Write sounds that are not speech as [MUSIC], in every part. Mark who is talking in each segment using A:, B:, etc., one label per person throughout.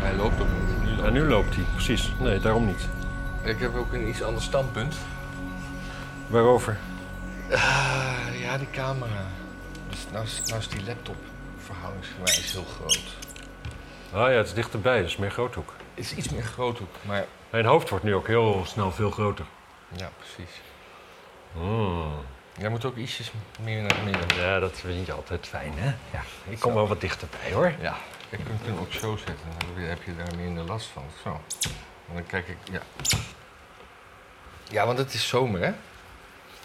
A: Hij loopt op. Nu loopt.
B: Ja, nu loopt hij, precies. Nee, daarom niet.
A: Ik heb ook een iets ander standpunt.
B: Waarover?
A: Ah, ja, die camera. Dus nou, is, nou is die laptop verhoudingsgewijs heel groot.
B: Ah ja, het is dichterbij, dus meer groothoek.
A: Het is iets meer groothoek, maar
B: Mijn hoofd wordt nu ook heel snel veel groter.
A: ja, precies.
B: Mm.
A: Jij moet ook ietsjes meer naar het midden.
B: Ja, dat vind niet altijd fijn, hè? Ja, ik
A: Zo.
B: kom wel wat dichterbij, hoor.
A: Ja, ik kunt hem ook zo zetten. Dan heb je daar minder last van. Zo. En dan kijk ik, ja. Ja, want het is zomer, hè?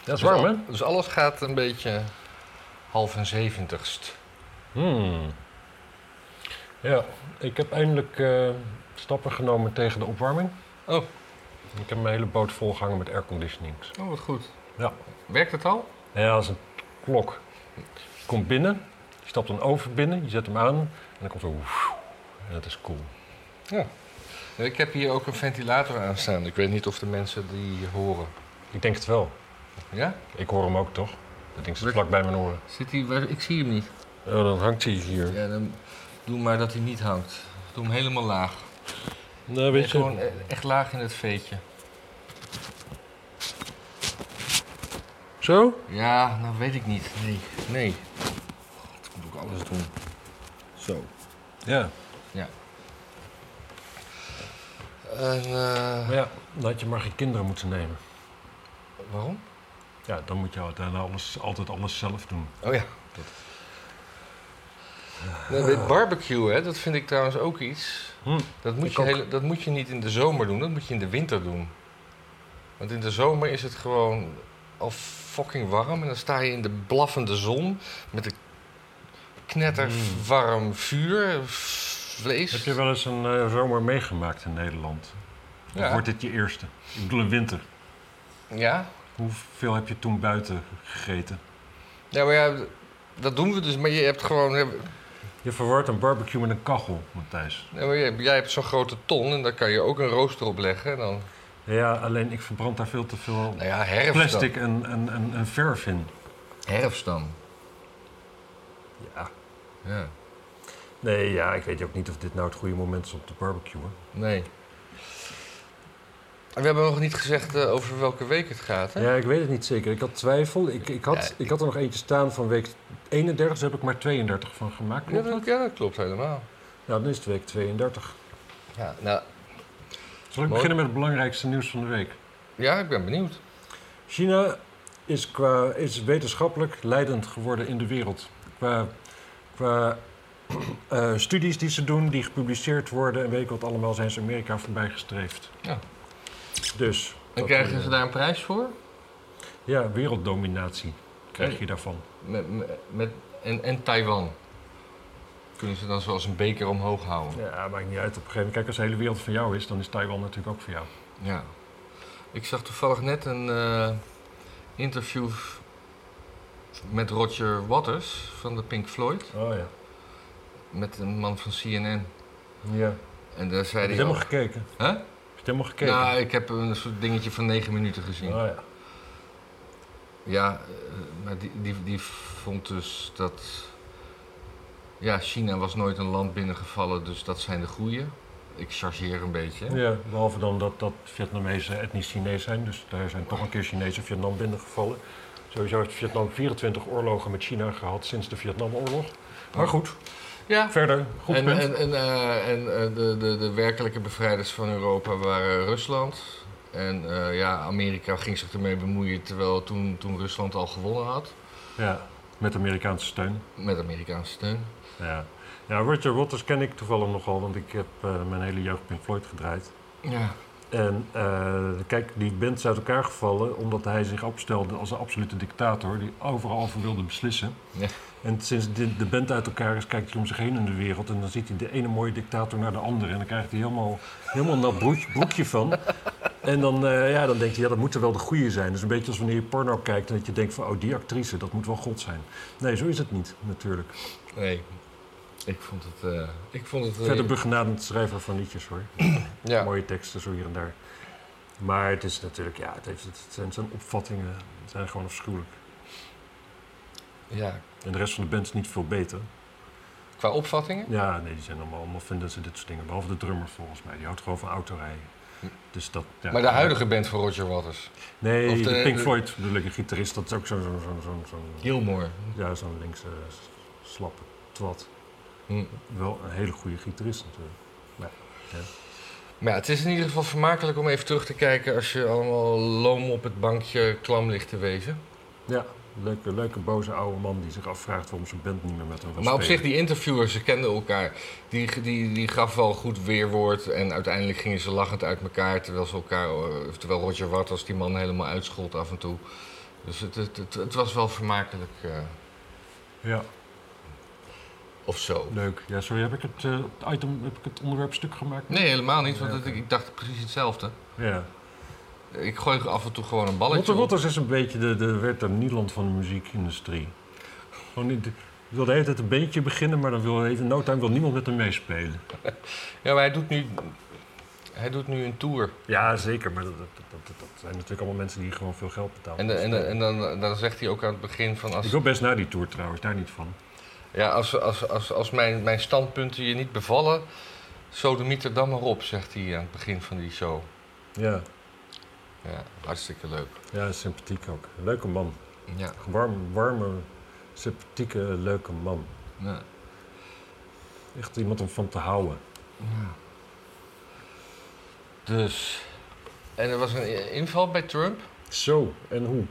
B: Dat is warm, hè?
A: Dus alles gaat een beetje half en zeventigst.
B: Hmm. Ja, ik heb eindelijk eh, stappen genomen tegen de opwarming.
A: Oh.
B: Ik heb mijn hele boot volgehangen met airconditioning.
A: Oh, wat goed.
B: Ja.
A: Werkt het al?
B: Ja, als een klok. Je komt binnen, je stapt een oven binnen, je zet hem aan en dan komt er woef. En dat is cool.
A: Ik heb hier ook een ventilator aan staan. Ik weet niet of de mensen die horen.
B: Ik denk het wel.
A: Ja?
B: Ik hoor hem ook toch? Dat ding zit vlak bij mijn oren.
A: Zit hij waar? Ik zie hem niet.
B: Oh, dan hangt hij hier.
A: Ja, dan doe maar dat hij niet hangt. Doe hem helemaal laag.
B: Nou, weet je,
A: Gewoon e- echt laag in het veetje.
B: zo?
A: Ja, nou weet ik niet. Nee. Nee. Dat moet ik alles doen. Zo.
B: Ja.
A: En, eh,
B: Maar ja, dan had je maar geen kinderen moeten nemen.
A: waarom?
B: Ja, dan moet je altijd alles, altijd alles zelf doen.
A: Oh ja. Nou, dit barbecue, hè, dat vind ik trouwens ook iets.
B: Hm.
A: Dat moet,
B: Ik
A: je
B: ook.
A: hele- dat moet je niet in de zomer doen, dat moet je in de winter doen. Want in de zomer is het gewoon al fucking warm. En dan sta je in de blaffende zon met een knetterwarm vuur, vlees.
B: Hmm. Heb je wel eens een eh, zomer meegemaakt in Nederland? Of
A: Ja.
B: wordt dit je eerste? Ik bedoel een winter.
A: Ja?
B: Hoeveel heb je toen buiten gegeten?
A: Ja, maar ja, dat doen we dus. Maar je hebt gewoon... ja,
B: Je verwart een barbecue met een kachel, Matthijs.
A: maar jij- jij hebt zo'n grote ton en daar kan je ook een rooster op leggen. En dan,
B: Ja, alleen ik verbrand daar veel te veel
A: nou ja, herfst dan.
B: plastic en, en, en, en verf in.
A: Herfst dan.
B: Ja.
A: Ja.
B: Nee, ja, ik weet ook niet of dit nou het goede moment is om te barbecuen.
A: Nee. We hebben nog niet gezegd eh, over welke week het gaat, hè?
B: Ja, ik weet het niet zeker. Ik had twijfel. Ik, ik, had,
A: Ja,
B: ik had er nog eentje staan van week 31, dus heb ik maar 32 van gemaakt.
A: Ja,
B: Klopt dat?
A: dat, ja, dat klopt helemaal.
B: Nou, dan is het week 32.
A: Ja, nou,
B: Zal
A: Mooi.
B: ik beginnen met het belangrijkste nieuws van de week?
A: ja, ik ben benieuwd.
B: China is, qua, is wetenschappelijk leidend geworden in de wereld. Qua, qua [CLEARS THROAT] eh, studies die ze doen, die gepubliceerd worden en weet ik wat allemaal, zijn ze Amerika voorbij gestreefd.
A: Ja.
B: Dus.
A: En
B: dat-
A: krijgen ze daar een prijs voor?
B: Ja, werelddominatie krijg je daarvan.
A: Met, met, met- en, en Taiwan. Kunnen ze dan zoals een beker omhoog houden?
B: Ja, maakt niet uit op een gegeven moment. Kijk, als de hele wereld van jou is, dan is Taiwan natuurlijk ook van jou.
A: Ja. Ik zag toevallig net een eh, interview f- met Roger Waters van de Pink Floyd.
B: Oh ja.
A: Met een man van CNN.
B: Ja. Heb
A: En daar zei
B: je het
A: hij...
B: helemaal
A: ook-
B: gekeken? Heb
A: Hè?
B: je het helemaal gekeken?
A: Nou, ik heb een soort dingetje van negen minuten gezien.
B: oh ja.
A: Ja, eh, maar die, die, die vond dus dat. Ja, China was nooit een land binnengevallen, dus dat zijn de goeie. Ik chargeer een beetje. hè.
B: Ja, behalve dan dat, dat Vietnamezen etnisch Chinees zijn. Dus daar zijn toch een keer Chinezen Vietnam binnengevallen. Sowieso heeft Vietnam 24 oorlogen met China gehad sinds de Vietnamoorlog. Maar goed,
A: Ja,
B: verder. Goed
A: en,
B: punt.
A: en, en, eh, en eh, de, de, de werkelijke bevrijders van Europa waren Rusland. En eh, ja, Amerika ging zich ermee bemoeien, terwijl toen, toen Rusland al gewonnen had.
B: Ja, met Amerikaanse steun.
A: Met Amerikaanse steun.
B: Ja. ja, Roger Waters ken ik toevallig nogal, want ik heb eh, mijn hele jeugd Pink Floyd gedraaid.
A: Ja,
B: En eh, kijk, die band is uit elkaar gevallen omdat hij zich opstelde als een absolute dictator die overal over wilde beslissen.
A: Ja.
B: En sinds de, de band uit elkaar is, kijkt hij om zich heen in de wereld en dan ziet hij de ene mooie dictator naar de andere. En dan krijgt hij helemaal, helemaal een nat broek- broekje van. En dan, eh, ja, dan denkt hij, ja, dat moeten wel de goede zijn. Dat is een beetje als wanneer je porno kijkt en dat je denkt van, oh, die actrice, dat moet wel God zijn. Nee, zo is het niet, natuurlijk.
A: nee. Ik vond het. eh, ik vond het. eh,
B: Verder begenadigd schrijver van liedjes, hoor.
A: ja.
B: mooie teksten zo hier en daar. Maar het is natuurlijk, ja, het, heeft, het zijn, zijn opvattingen zijn gewoon afschuwelijk.
A: ja,
B: En de rest van de band is niet veel beter.
A: Qua opvattingen?
B: Ja, nee, die zijn allemaal, allemaal vinden ze dit soort dingen. Behalve de drummer volgens mij. Die houdt gewoon van autorijden. Dus dat, ja,
A: Hm. Maar de huidige band van Roger Waters.
B: Nee,
A: of
B: de,
A: de-
B: Pink
A: de-
B: Floyd bedoel ik, de gitarist. Dat is ook zo'n zo, zo, zo, zo,
A: Gilmore.
B: ja, zo'n linkse s- slappe twat.
A: Hm.
B: Wel een hele goede gitarist natuurlijk.
A: Maar ja, het is in ieder geval vermakelijk om even terug te kijken als je allemaal loom op het bankje klam ligt te wezen.
B: Ja, leuke, leuke boze oude man die zich afvraagt waarom zijn band niet meer met hem wil
A: Maar op zich,
B: spelen.
A: die interviewers, ze kenden elkaar. Die, die, die gaf wel goed weerwoord en uiteindelijk gingen ze lachend uit elkaar. Terwijl, ze elkaar, eh, terwijl Roger Waters die man helemaal uitschold af en toe. Dus het, het, het, het was wel vermakelijk eh,
B: Ja,
A: of zo.
B: leuk. Ja, sorry, heb ik het, eh, het item, heb ik het onderwerp stuk gemaakt?
A: Nee, helemaal niet, want
B: Ja,
A: het-
B: oké.
A: ik dacht precies hetzelfde.
B: Ja.
A: Ik gooi af en toe gewoon een balletje
B: Rotter
A: op.
B: Rotters is een beetje de, de Werther Nieland van de muziekindustrie. Gewoon niet... Ik wil de hele tijd een beetje beginnen, maar dan wil even no time wil niemand met hem meespelen.
A: Ja, maar hij doet nu, hij doet nu een tour.
B: Ja, zeker, maar dat, dat, dat, dat- dat zijn natuurlijk allemaal mensen die gewoon veel geld betalen.
A: En, en, en dan, dan zegt hij ook aan het begin van... Als,
B: Ik wil best naar die tour trouwens, daar niet van.
A: Ja, als, als, als, als mijn, mijn standpunten je niet bevallen, sodemiet er dan maar op, zegt hij aan het begin van die show.
B: Ja,
A: Ja, hartstikke leuk.
B: ja sympathiek ook. Leuke man.
A: Ja,
B: Warm, warme, sympathieke, leuke man.
A: ja.
B: Echt iemand om van te houden.
A: Dus, en er was een inval bij Trump,
B: Zo, en hoe?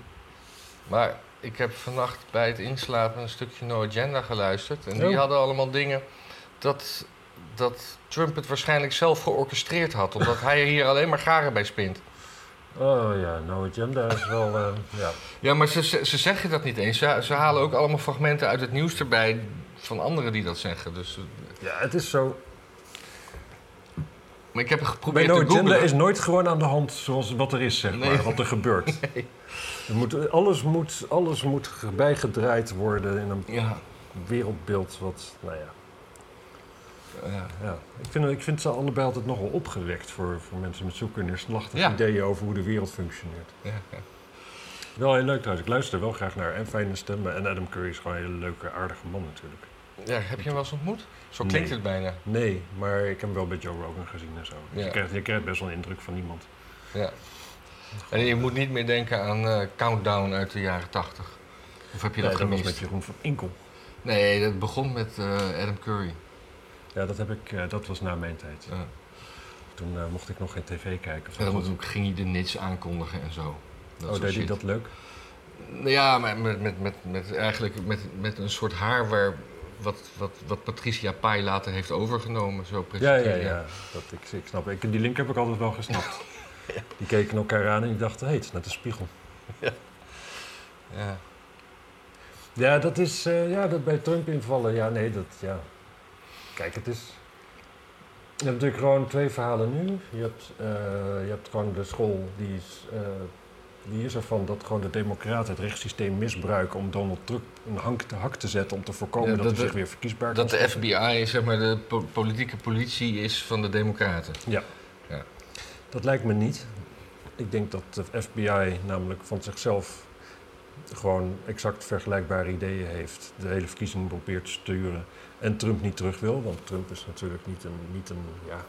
A: maar ik heb vannacht bij het inslapen een stukje No Agenda geluisterd. En
B: Oh.
A: die hadden allemaal dingen dat, dat Trump het waarschijnlijk zelf georchestreerd had, omdat hij hier alleen maar garen bij spint.
B: Oh ja, nou agenda is wel... eh, ja.
A: Ja, maar ze, ze, ze zeggen dat niet eens. Ze, ze halen ook allemaal fragmenten uit het nieuws erbij van anderen die dat zeggen. Dus, eh,
B: ja, het is zo...
A: maar ik heb
B: Bij
A: geprobeerd
B: No
A: te
B: Agenda
A: googlen.
B: is nooit gewoon aan de hand zoals wat er is, zeg
A: [LAUGHS]
B: maar,
A: Nee.
B: wat er gebeurt. Er moet, alles, moet, alles moet ge- bijgedraaid worden in een
A: Ja,
B: wereldbeeld wat, nou ja.
A: ja.
B: ja. Ik, vind, ik vind ze allebei altijd nogal opgewekt voor, voor mensen met zulke neerslachtige
A: Ja.
B: ideeën over hoe de wereld functioneert.
A: ja, ja.
B: Wel heel leuk trouwens, ik luister wel graag naar en fijne stemmen en Adam Curry is gewoon een hele leuke, aardige man natuurlijk.
A: Ja, heb je hem wel eens ontmoet? Zo
B: Nee.
A: klinkt het bijna.
B: Nee, maar ik heb hem wel bij Joe Rogan gezien en zo. Dus
A: Ja.
B: je, krijgt, je krijgt best wel een indruk van iemand.
A: Ja. En je moet niet meer denken aan eh, Countdown uit de jaren tachtig. Of heb je
B: Nee,
A: dat
B: dat was
A: gemist?
B: met Jeroen van Inkel.
A: Nee, dat begon met eh, Adam Curry.
B: Ja, dat, heb ik, eh, dat was na mijn tijd.
A: Ja.
B: Toen eh, mocht ik nog geen tv kijken. of zo.
A: En dan ging hij de nits aankondigen en zo. Dat
B: oh,
A: soort
B: deed hij
A: shit.
B: dat leuk?
A: Nou Ja, maar met, met, met, met, eigenlijk met, met een soort haar waar, wat, wat, wat Patricia Pai later heeft overgenomen. Zo
B: Ja, ja,
A: presenteren.
B: ja. Dat, ik, ik snap het. Ik, die link heb ik altijd wel gesnapt.
A: [LAUGHS]
B: Die keken elkaar aan en ik dacht, hé, hey, het is net een spiegel.
A: Ja.
B: Ja, dat is eh, ja, dat bij Trump invallen. Ja, nee, dat ja. Kijk, het is. Je hebt natuurlijk gewoon twee verhalen nu. Je hebt, eh, je hebt gewoon de school die is, eh, die is ervan dat gewoon de Democraten het rechtssysteem misbruiken om Donald Trump een hank te hak te zetten om te voorkomen
A: Ja,
B: dat,
A: dat
B: hij
A: de-
B: zich weer verkiesbaar
A: Dat
B: kan
A: de
B: stellen.
A: FBI zeg maar, de po- politieke politie is van de Democraten.
B: Dat lijkt me niet. Ik denk dat de FBI namelijk van zichzelf gewoon exact vergelijkbare ideeën heeft. De hele verkiezing probeert te sturen. En Trump niet terug wil, want Trump is natuurlijk niet een. Niet een ja,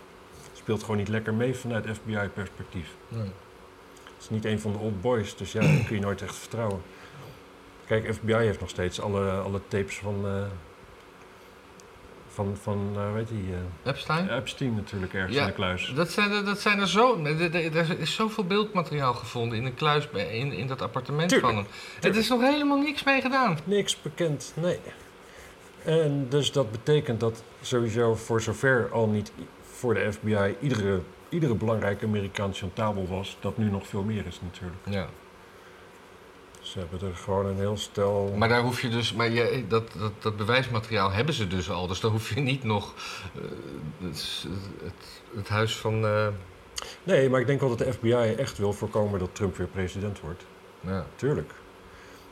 B: speelt gewoon niet lekker mee vanuit FBI-perspectief. Het is niet een van de old boys, dus ja, daar kun je nooit echt vertrouwen. Kijk, FBI heeft nog steeds alle, alle tapes van. eh, van, van eh, weet je,
A: Epstein?
B: Epstein natuurlijk ergens
A: Ja.
B: in de kluis.
A: Dat zijn, er- dat zijn er zo. Er er- er is zoveel beeldmateriaal gevonden in een kluis bij- in, in dat appartement
B: Tuurlijk,
A: van hem. Het
B: tuurlijk.
A: is nog helemaal niks mee gedaan.
B: Niks bekend, nee. En dus dat betekent dat sowieso voor zover al niet i- voor de FBI iedere, iedere belangrijke Amerikaan chantabel was, dat nu nog veel meer is natuurlijk.
A: Ja.
B: Ze hebben er gewoon een heel stel.
A: Maar daar hoef je dus. Maar je, dat, dat, dat bewijsmateriaal hebben ze dus al. Dus daar hoef je niet nog. eh, het, het, het huis van. eh,
B: Nee, maar ik denk wel dat de FBI echt wil voorkomen dat Trump weer president wordt.
A: nou ja.
B: Tuurlijk.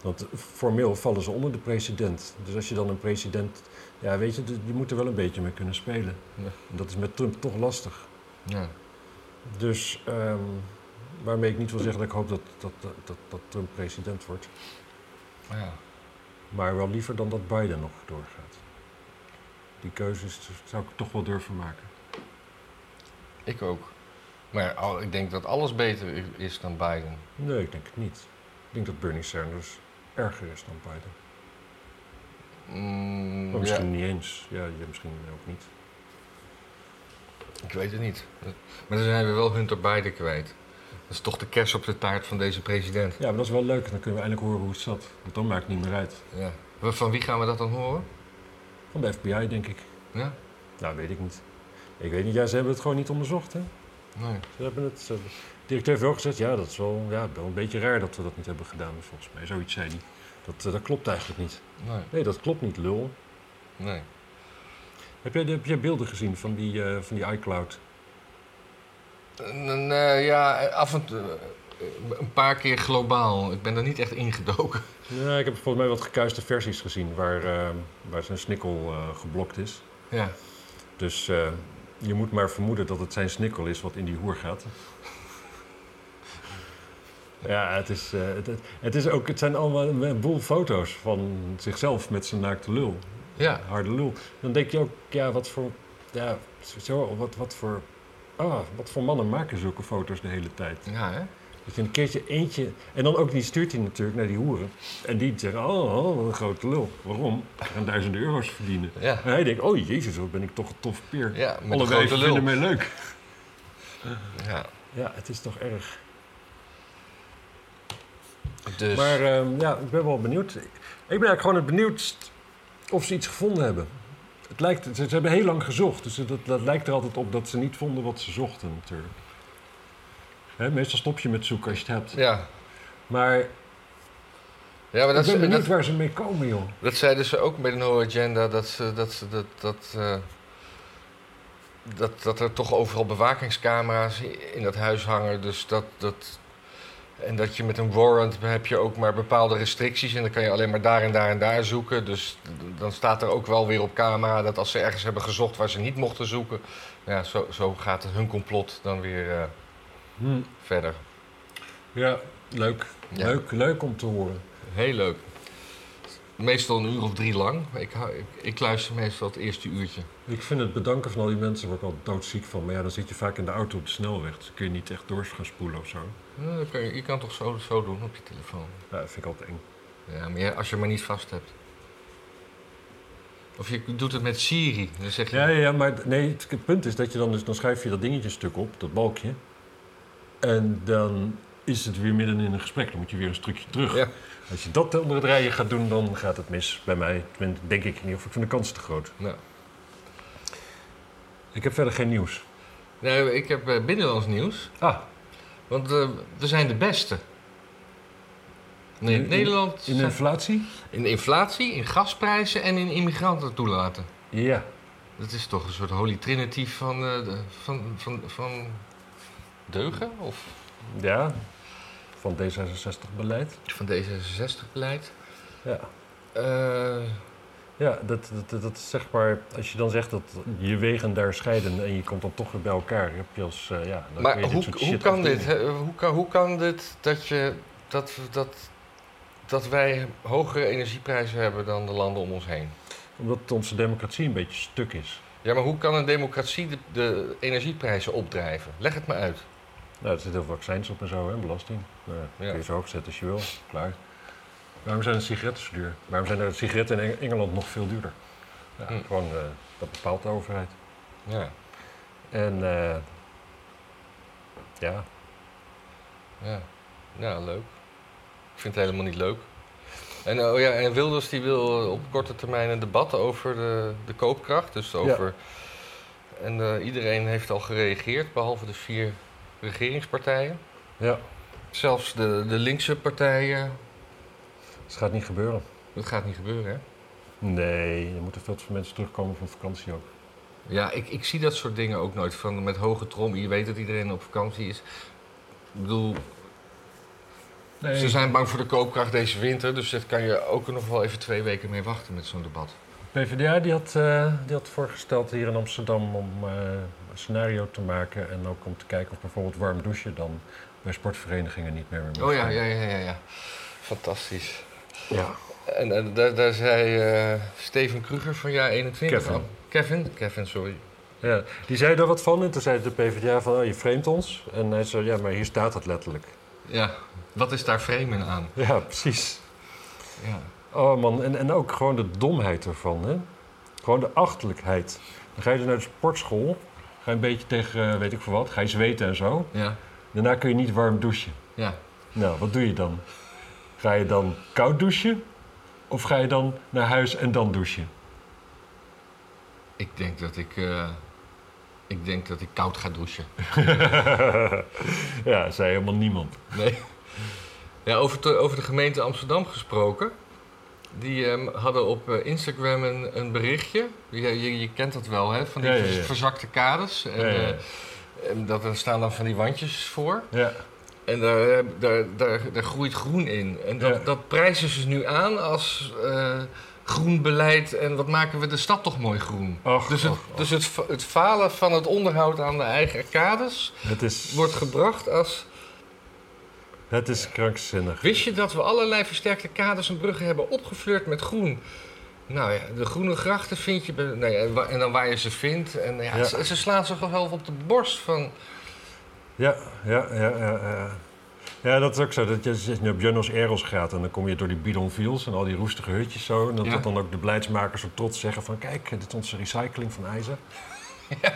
B: Want formeel vallen ze onder de president. Dus als je dan een president. Ja, weet je, die die moeten wel een beetje mee kunnen spelen.
A: Ja.
B: En dat is met Trump toch lastig.
A: Ja.
B: Dus ehm, waarmee ik niet wil zeggen dat ik hoop dat, dat, dat, dat Trump president wordt.
A: nou ja.
B: Maar wel liever dan dat Biden nog doorgaat. Die keuze is, zou ik toch wel durven maken.
A: Ik ook. Maar al- ik denk dat alles beter i- is dan Biden.
B: Nee, ik denk het niet. Ik denk dat Bernie Sanders erger is dan Biden.
A: Mm,
B: Maar
A: ja,
B: Oh, misschien niet eens. Ja, ja, misschien ook niet.
A: ik weet het niet. Maar dan zijn we wel Hunter Biden kwijt. Dat is toch de kers op de taart van deze president.
B: Ja, maar dat is wel leuk. Dan kunnen we eindelijk horen hoe het zat. Want dan maakt het niet meer uit.
A: Ja. Wa- Van wie gaan we dat dan horen?
B: Van de FBI, denk ik.
A: Ja?
B: Nou, weet ik niet. Ik weet niet. Ja, ze hebben het gewoon niet onderzocht, hè?
A: Nee.
B: Ze hebben het... ze- de directeur heeft wel gezegd, ja, dat is wel, ja, wel een beetje raar dat we dat niet hebben gedaan, volgens mij. Zoiets zei hij. Dat, eh, dat klopt eigenlijk niet.
A: Nee.
B: Nee, dat klopt niet, lul.
A: Nee.
B: Heb jij, heb jij beelden gezien van die, eh, van die iCloud?
A: N- n- eh, ja, af en toe. eh, Een paar keer globaal. Ik ben er niet echt ingedoken. [LAUGHS]
B: Ja, ik heb volgens mij wat gekuiste versies gezien waar, eh, waar zijn snikkel eh, geblokt is.
A: Ja.
B: Dus eh, je moet maar vermoeden dat het zijn snikkel is wat in die hoer gaat. [LAUGHS] Ja, het, is, eh, het, het- het, is ook, het zijn allemaal een boel foto's van zichzelf met zijn naakte lul.
A: Ja.
B: Harde lul. Dan denk je ook, ja, wat voor... Ja, zo, wat, wat voor... Ah, wat voor mannen maken zulke foto's de hele tijd?
A: Ja, hè?
B: Dat je een keertje eentje. En dan ook die stuurt hij natuurlijk naar die hoeren. En die zeggen: Oh, oh, wat een grote lul. Waarom? Ze gaan duizenden euro's verdienen.
A: Ja.
B: En hij denkt: Oh jezus, wat ben ik toch een tof peer.
A: Ja, met
B: Alle
A: een grote
B: wijven
A: lul.
B: vinden mij leuk.
A: Ja.
B: Ja, het is toch erg.
A: Dus.
B: Maar ehm, ja, ik ben wel benieuwd. Ik ben eigenlijk gewoon het benieuwdst of ze iets gevonden hebben. Het lijkt, ze, ze hebben heel lang gezocht, dus dat, dat lijkt er altijd op dat ze niet vonden wat ze zochten natuurlijk. Hè, meestal stop je met zoeken als je het hebt.
A: ja.
B: Maar
A: Ja, maar dat,
B: ik ben
A: ze-
B: benieuwd
A: dat,
B: waar ze mee komen, joh.
A: dat zeiden ze ook bij de No Agenda, dat ze dat. Ze, dat, dat, eh, dat, dat er toch overal bewakingscamera's in dat huis hangen. Dus dat, dat, en dat je met een warrant heb je ook maar bepaalde restricties. En dan kan je alleen maar daar en daar en daar zoeken. Dus d- dan staat er ook wel weer op camera dat als ze ergens hebben gezocht waar ze niet mochten zoeken. nou Ja, zo, zo gaat hun complot dan weer eh,
B: Hm.
A: verder.
B: Ja, leuk.
A: Ja.
B: Leuk, leuk om te horen.
A: Heel leuk. Meestal een uur of drie lang. Ik, hou- ik, ik luister meestal het eerste uurtje.
B: Ik vind het bedanken van al die mensen waar ik al doodziek van. Maar ja, dan zit je vaak in de auto op de snelweg. Dus dan kun je niet echt door gaan spoelen of zo.
A: Ja, dat kan Eh, je, je kan toch zo, zo doen op je telefoon.
B: Ja, dat vind ik altijd eng.
A: Ja, maar ja, als je maar niet vast hebt. Of je doet het met Siri. Dan zeg je,
B: Ja, ja, ja, maar d- nee, het, het punt is dat je dan dus... Dan schrijf je dat dingetje een stuk op, dat balkje. En dan is het weer midden in een gesprek. Dan moet je weer een stukje terug.
A: Ja.
B: Als je dat onder het rijden gaat doen, dan gaat het mis. Bij mij, Tenminste, denk ik niet. Of ik vind de kans te groot.
A: Nou,
B: Ik heb verder geen nieuws.
A: nee, ik heb eh, binnenlands nieuws.
B: Ah,
A: Want eh, we zijn de beste. Nee,
B: In- in-
A: Nederland
B: in
A: zijn-
B: inflatie?
A: in inflatie, in gasprijzen en in immigranten toelaten.
B: Ja.
A: Dat is toch een soort holy trinity van, eh, de- van, van, van deugen? Of
B: Ja. Van D66-beleid.
A: van D66-beleid?
B: Ja.
A: Eh
B: Ja, dat, dat, dat, dat is zeg maar, als je dan zegt dat je wegen daar scheiden en je komt dan toch weer bij elkaar, heb je als, eh, ja, dan kun
A: maar
B: je
A: hoe,
B: soort
A: hoe
B: shit
A: kan
B: afdwingen.
A: dit? hè? Hoe kan, hoe kan dit dat, je, dat, we- dat, dat wij hogere energieprijzen hebben dan de landen om ons heen?
B: Omdat onze democratie een beetje stuk is.
A: Ja, maar hoe kan een democratie de, de energieprijzen opdrijven? Leg het me uit.
B: Nou, er zit heel veel accijns op en zo, hè, belasting. Nou,
A: Ja.
B: Kun je zo opzetten als je wil, klaar. Waarom zijn de sigaretten zo duur? Waarom zijn de sigaretten in Eng- Engeland nog veel duurder? Ja,
A: Hm.
B: Gewoon, eh, dat bepaalt de overheid.
A: Ja,
B: En, eh, ja,
A: ja. ja leuk. Ik vind het helemaal niet leuk. En, oh ja, en Wilders die wil eh, op korte termijn een debat over de, de koopkracht. Dus over... En eh, iedereen heeft al gereageerd, behalve de vier regeringspartijen.
B: ja,
A: Zelfs de, de linkse partijen.
B: het gaat niet gebeuren.
A: Dat gaat niet gebeuren, hè?
B: Nee, er moeten veel te veel mensen terugkomen van vakantie ook.
A: Ja, ik, ik zie dat soort dingen ook nooit. Van met hoge trom, je weet dat iedereen op vakantie is. Ik bedoel, ze zijn bang voor de koopkracht deze winter. Dus daar kan je ook nog wel even twee weken mee wachten met zo'n debat.
B: PvdA die had, eh, die had voorgesteld hier in Amsterdam om eh, een scenario te maken en ook om te kijken of bijvoorbeeld warm douchen dan bij sportverenigingen niet meer. meer
A: Oh ja,
B: mag.
A: ja, ja, ja. ja. Fantastisch.
B: ja.
A: En, en daar, daar zei eh, Steven Kruger van jaar 21
B: Kevin.
A: aan. Kevin? Kevin, sorry.
B: Ja, die zei daar wat van en toen zei de PvdA van, oh, je framet ons. En hij zei, ja, maar hier staat het letterlijk.
A: Ja, wat is daar framen aan?
B: Ja, precies.
A: Ja.
B: Oh man, en, en ook gewoon de domheid ervan, hè? Gewoon de achterlijkheid. Dan ga je dus naar de sportschool, ga je een beetje tegen, eh, weet ik veel wat, ga je zweten en zo.
A: Ja,
B: Daarna kun je niet warm douchen.
A: ja.
B: Nou, wat doe je dan? Ga je dan koud douchen? Of ga je dan naar huis en dan douchen? [LAUGHS]
A: Ik denk dat ik... eh, ik denk dat ik koud ga douchen.
B: ja, zei helemaal niemand.
A: Nee. Ja, over, te- over de gemeente Amsterdam gesproken. Die ehm, hadden op eh, Instagram een, een berichtje. Je, je, je kent dat wel, hè? Van die
B: Ja, ja, ja.
A: verzakte kaders. En,
B: Ja, ja, ja.
A: eh, en dat, er staan dan van die wandjes voor.
B: Ja,
A: En daar, eh, daar, daar, daar groeit groen in. En dat,
B: Ja.
A: dat prijzen ze dus nu aan als eh, groen beleid. En wat maken we de stad toch mooi groen?
B: ach,
A: Dus, het,
B: ach, ach.
A: dus het, fa- het falen van het onderhoud aan de eigen kaders
B: het, is,
A: wordt gebracht als...
B: het is krankzinnig.
A: Wist je dat we allerlei versterkte kaders en bruggen hebben opgefleurd met groen? Nou ja, de groene grachten vind je... bij- nou ja, en wa- en dan waar je ze vindt. En nou ja,
B: Ja.
A: Ze, ze slaan zich wel op de borst van...
B: Ja, ja, ja, ja. ja. Ja, dat is ook zo. Dat je, als je nu op Jonas Eros gaat en dan kom je door die bidonfields en al die roestige hutjes zo. En dat,
A: Ja.
B: dat dan ook de beleidsmakers zo trots zeggen van kijk, dit is onze recycling van
A: [LAUGHS]
B: ijzer. Ja,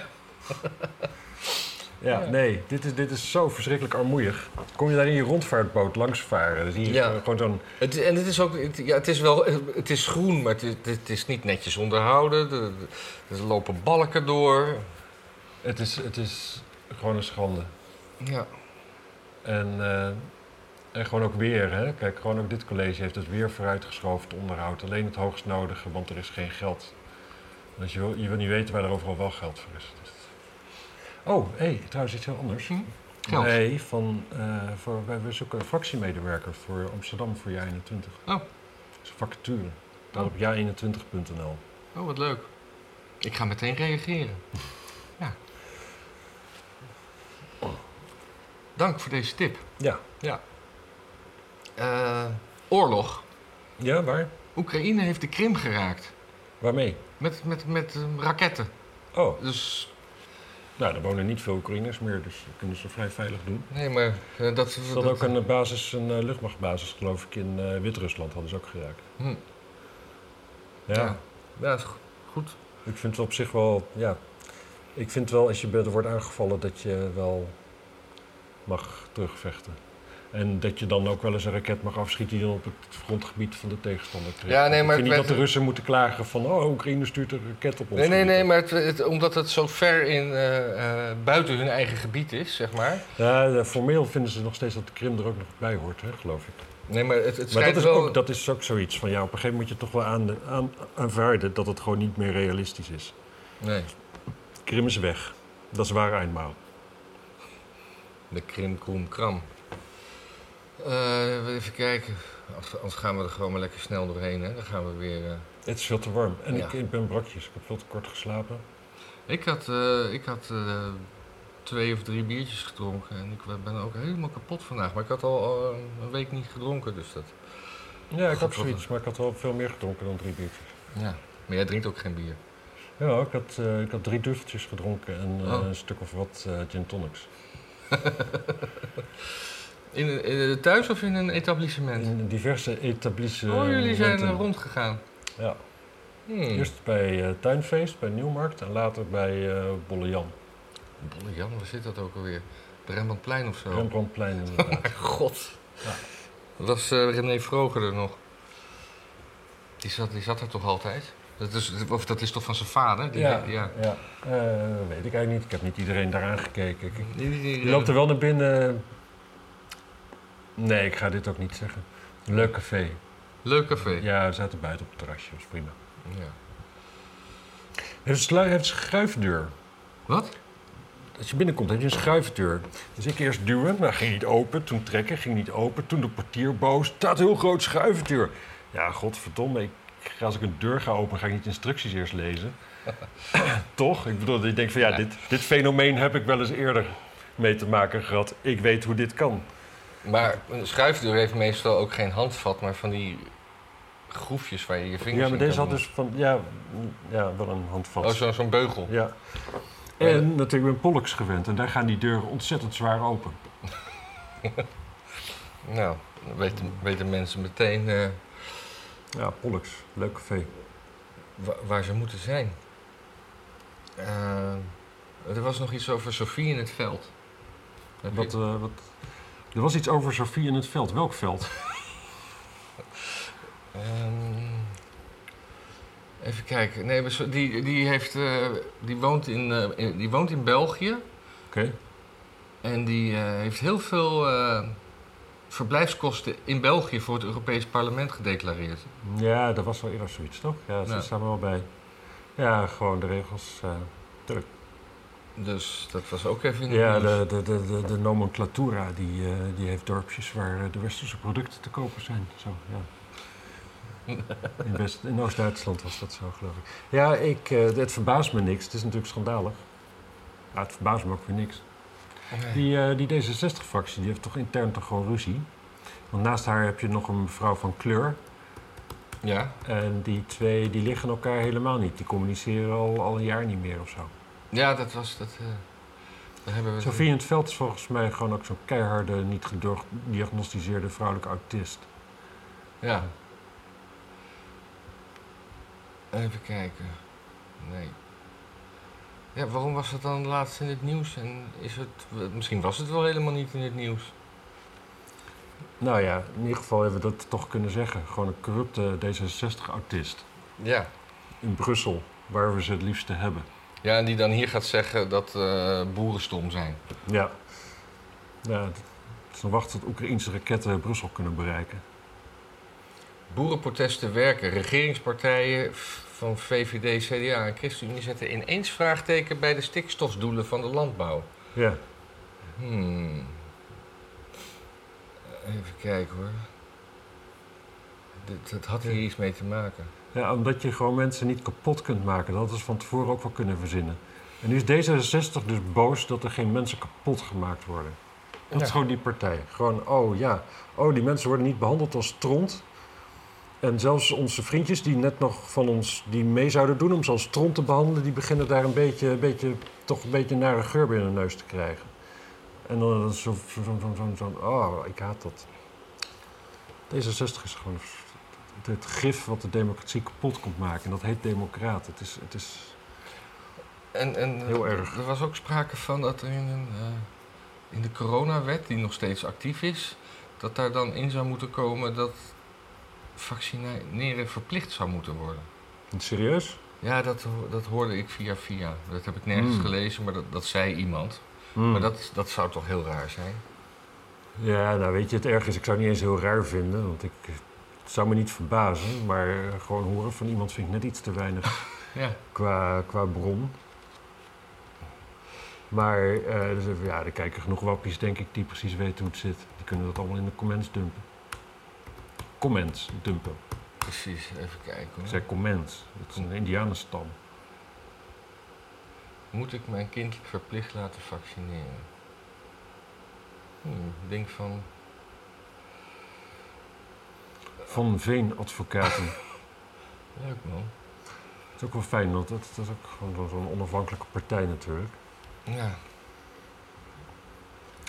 A: Ja.
B: nee, dit is, dit is zo verschrikkelijk armoeig. Kom je daar in je rondvaartboot langs varen, dan zie je
A: Ja.
B: gewoon- gewoon zo'n...
A: Het, en het is ook, het, ja, het is wel, het is groen, maar het, is- het is niet netjes onderhouden. Er, er lopen balken door.
B: Het is, het is gewoon een schande.
A: Ja,
B: En, eh, en gewoon ook weer, hè. Kijk, gewoon ook dit college heeft het weer vooruitgeschoven, het onderhoud. Alleen het hoogst nodige, want er is geen geld. Dus je wil, je wil niet weten waar er overal wel geld voor is. Dus- Oh, hé, hey, trouwens iets heel anders.
A: Hm? geld.
B: Nee, van, eh, voor, wij, we zoeken een fractiemedewerker voor Amsterdam voor jaar 21.
A: Oh.
B: Dat is een vacature. Daar op jaar21.nl.
A: Oh, wat leuk. Ik ga meteen reageren. Ja. Dank voor deze tip.
B: Ja.
A: Eh, oorlog.
B: Ja, waar?
A: Oekraïne heeft de Krim geraakt.
B: Waarmee?
A: Met, met, met eh, raketten.
B: Oh,
A: Dus
B: nou, er wonen niet veel Oekraïners meer, dus dat kunnen ze vrij veilig doen.
A: nee, maar eh, dat,
B: Ze hadden ook een, eh, basis, een eh, luchtmachtbasis, geloof ik, in eh, Wit-Rusland hadden ze ook geraakt.
A: Hm.
B: Ja,
A: Ja. Ja, is go- goed.
B: ik vind het op zich wel... Ja, ik vind wel, als je be- wordt aangevallen, dat je wel mag terugvechten. En dat je dan ook wel eens een raket mag afschieten die dan op het grondgebied van de tegenstander terecht.
A: Ja, nee, maar
B: ik vind
A: het
B: niet dat
A: werd-
B: de Russen moeten klagen van... oh, Oekraïne stuurt een raket op ons.
A: Nee, nee, nee, maar het, het- omdat het zo ver in, eh, eh, buiten hun eigen gebied is, zeg maar.
B: Ja, eh, formeel vinden ze nog steeds dat de Krim er ook nog bij hoort, hè, geloof ik.
A: Nee, maar het, het
B: Maar
A: schijnt
B: dat is,
A: wel...
B: ook, dat is ook zoiets van ja, op een gegeven moment moet je toch wel aan, aan, aanvaarden dat het gewoon niet meer realistisch is.
A: Nee,
B: Krim is weg. Dat is waar eindmaal.
A: de krim, kroem, kram. Eh, even kijken. Als- Anders gaan we er gewoon maar lekker snel doorheen, hè. Dan gaan we weer... eh.
B: Het is veel te warm. En
A: Ja.
B: ik, ik ben brakjes. Ik heb veel te kort geslapen.
A: Ik had, eh, ik had eh, twee of drie biertjes gedronken en ik ben ook helemaal kapot vandaag. Maar ik had al eh, een week niet gedronken, dus dat...
B: Ja, ik
A: God,
B: had
A: wat
B: zoiets, maar ik had wel veel meer gedronken dan drie biertjes.
A: Ja. Maar jij drinkt ook geen bier.
B: Ja, ik had, eh, ik had drie duveltjes gedronken en eh,
A: Oh.
B: een stuk of wat eh, gin tonics.
A: In, een- in een- thuis of in een etablissement?
B: In diverse etablissementen.
A: oh, jullie zijn eh, rondgegaan.
B: Ja,
A: Hmm.
B: eerst bij eh, Tuinfeest, bij Nieuwmarkt en later bij eh Bolle Jan.
A: Bolle Jan, waar zit dat ook alweer? De Rembrandtplein of zo?
B: Rembrandtplein inderdaad.
A: God.
B: Ja.
A: Was eh, René Vroger er nog? Die zat, die zat er toch altijd? Dat is, of dat is toch van zijn vader? Die-
B: Ja,
A: ja.
B: ja. Eh, weet ik eigenlijk niet. Ik heb niet iedereen daaraan gekeken. Ik-
A: Die- die- die-
B: Je loopt er wel naar binnen. Nee, ik ga dit ook niet zeggen. Leuk café.
A: Leuk café. Ja.
B: Ja, we zaten buiten op het terrasje. was prima. Heeft een, slu- heeft een schuifdeur.
A: Wat?
B: Als je binnenkomt, heb je een schuifdeur. Dus ik eerst duwen, maar ging niet open. Toen trekken, ging niet open. Toen de portier boos. Staat heel groot schuifdeur. Ja, godverdomme. Ik, ga- als ik een deur ga openen, ga ik niet instructies eerst lezen. [COUGHS] Toch? Ik bedoel, ik denk van ja, dit, dit fenomeen heb ik wel eens eerder mee te maken gehad. Ik weet hoe dit kan.
A: Maar een schuifdeur heeft meestal ook geen handvat, maar van die groefjes waar je je vingers
B: Ja, maar
A: in
B: deze
A: kan
B: had
A: doen.
B: dus van, ja, ja wel een handvat.
A: Oh, zo- zo'n beugel.
B: Ja. En natuurlijk ben ik Pollux gewend en daar gaan die deuren ontzettend zwaar open.
A: Nou, dan weten, weten mensen meteen eh,
B: Ja, Pollux, leuk café.
A: wa- waar ze moeten zijn. Eh, er was nog iets over Sofie in het veld. Heb je-
B: Wat, eh, wat... Er was iets over Sofie in het veld. Welk veld?
A: Ehm, even kijken. Nee, maar zo- die, die, heeft, eh, die, woont in, eh, in- die woont in België.
B: Oké.
A: En die eh, heeft heel veel eh, verblijfskosten in België voor het Europees Parlement gedeclareerd.
B: Ja, dat was wel eerder zoiets, toch? Ja, ze
A: Ja.
B: staan er wel bij. Ja, gewoon de regels. eh,
A: Dus dat was ook even in het
B: ja,
A: nieuws.
B: de, de, de, de, de nomenclatura die, eh, die heeft dorpjes waar eh, de westerse producten te kopen zijn. Zo, [LAUGHS] ja. In, West- in Oost-Duitsland was dat zo, geloof ik. Ja, ik, eh, het verbaast me niks. Het is natuurlijk schandalig. Maar het verbaast me ook weer niks.
A: Nee.
B: Die, eh, die D66-fractie die heeft toch intern toch gewoon ruzie? Want naast haar heb je nog een vrouw van kleur.
A: Ja,
B: En die twee die liggen elkaar helemaal niet. Die communiceren al, al een jaar niet meer of zo.
A: ja dat was dat. eh, daar hebben we
B: Sophie in het veld is volgens mij gewoon ook zo'n keiharde, niet gediagnosticeerde vrouwelijke autist.
A: Ja. Even kijken. Nee. Ja, waarom was dat dan laatst in het nieuws? En is het, misschien was het wel helemaal niet in het nieuws.
B: Nou ja, in ieder geval hebben we dat toch kunnen zeggen. Gewoon een corrupte D66-autist
A: Ja.
B: in Brussel, waar we ze het liefste hebben.
A: Ja, en die dan hier gaat zeggen dat eh, boeren stom zijn.
B: Ja. Ja, het is nog wachten tot Oekraïnse raketten Brussel kunnen bereiken.
A: Boerenprotesten werken. Regeringspartijen f- van VVD, CDA en ChristenUnie zetten ineens vraagteken bij de stikstofdoelen van de landbouw.
B: Ja.
A: Hmm. Even kijken hoor. Dit, dat had hier iets mee te maken.
B: Ja, omdat je gewoon mensen niet kapot kunt maken. Dat hadden ze van tevoren ook wel kunnen verzinnen. En nu is D66 dus boos dat er geen mensen kapot gemaakt worden. Dat is
A: Ja.
B: gewoon die partij. Gewoon, oh ja, oh die mensen worden niet behandeld als stront. En zelfs onze vriendjes die net nog van ons die mee zouden doen om ze als stront te behandelen, die beginnen daar een beetje, een beetje toch een beetje nare geur binnen de neus te krijgen. En dan is het zo, zo, zo, zo, zo, zo- oh, ik haat dat. D66 is gewoon het gif wat de democratie kapot komt maken. En dat heet democraat. Het is, het is
A: En, en eh,
B: Heel erg.
A: er was ook sprake van dat er in, een, eh, in de coronawet, die nog steeds actief is, dat daar dan in zou moeten komen dat vaccineren verplicht zou moeten worden.
B: serieus.
A: Ja, dat, ho- dat hoorde ik via via. Dat heb ik nergens
B: Hmm.
A: gelezen, maar dat, dat zei iemand.
B: Mm.
A: Maar dat, dat zou toch heel raar zijn?
B: Ja, nou weet je, het erg is, ik zou het niet eens heel raar vinden. Want ik, eh, het zou me niet verbazen. Maar eh, gewoon horen van iemand vind ik net iets te weinig [LAUGHS]
A: Ja.
B: qua, qua bron. Maar eh, dus, even- ja, er kijken genoeg wappies, denk ik, die precies weten hoe het zit. Die kunnen dat allemaal in de comments dumpen. Comments dumpen.
A: Precies, even kijken.
B: Ik
A: Hoor.
B: zei comments. Dat is een indianenstam.
A: Moet ik mijn kind verplicht laten vaccineren? Hmm, ik denk van.
B: Van Veen [LAUGHS] advocaten.
A: Leuk man.
B: Het is ook wel fijn, want dat, dat is ook gewoon zo'n- zo'n onafhankelijke partij natuurlijk.
A: Ja,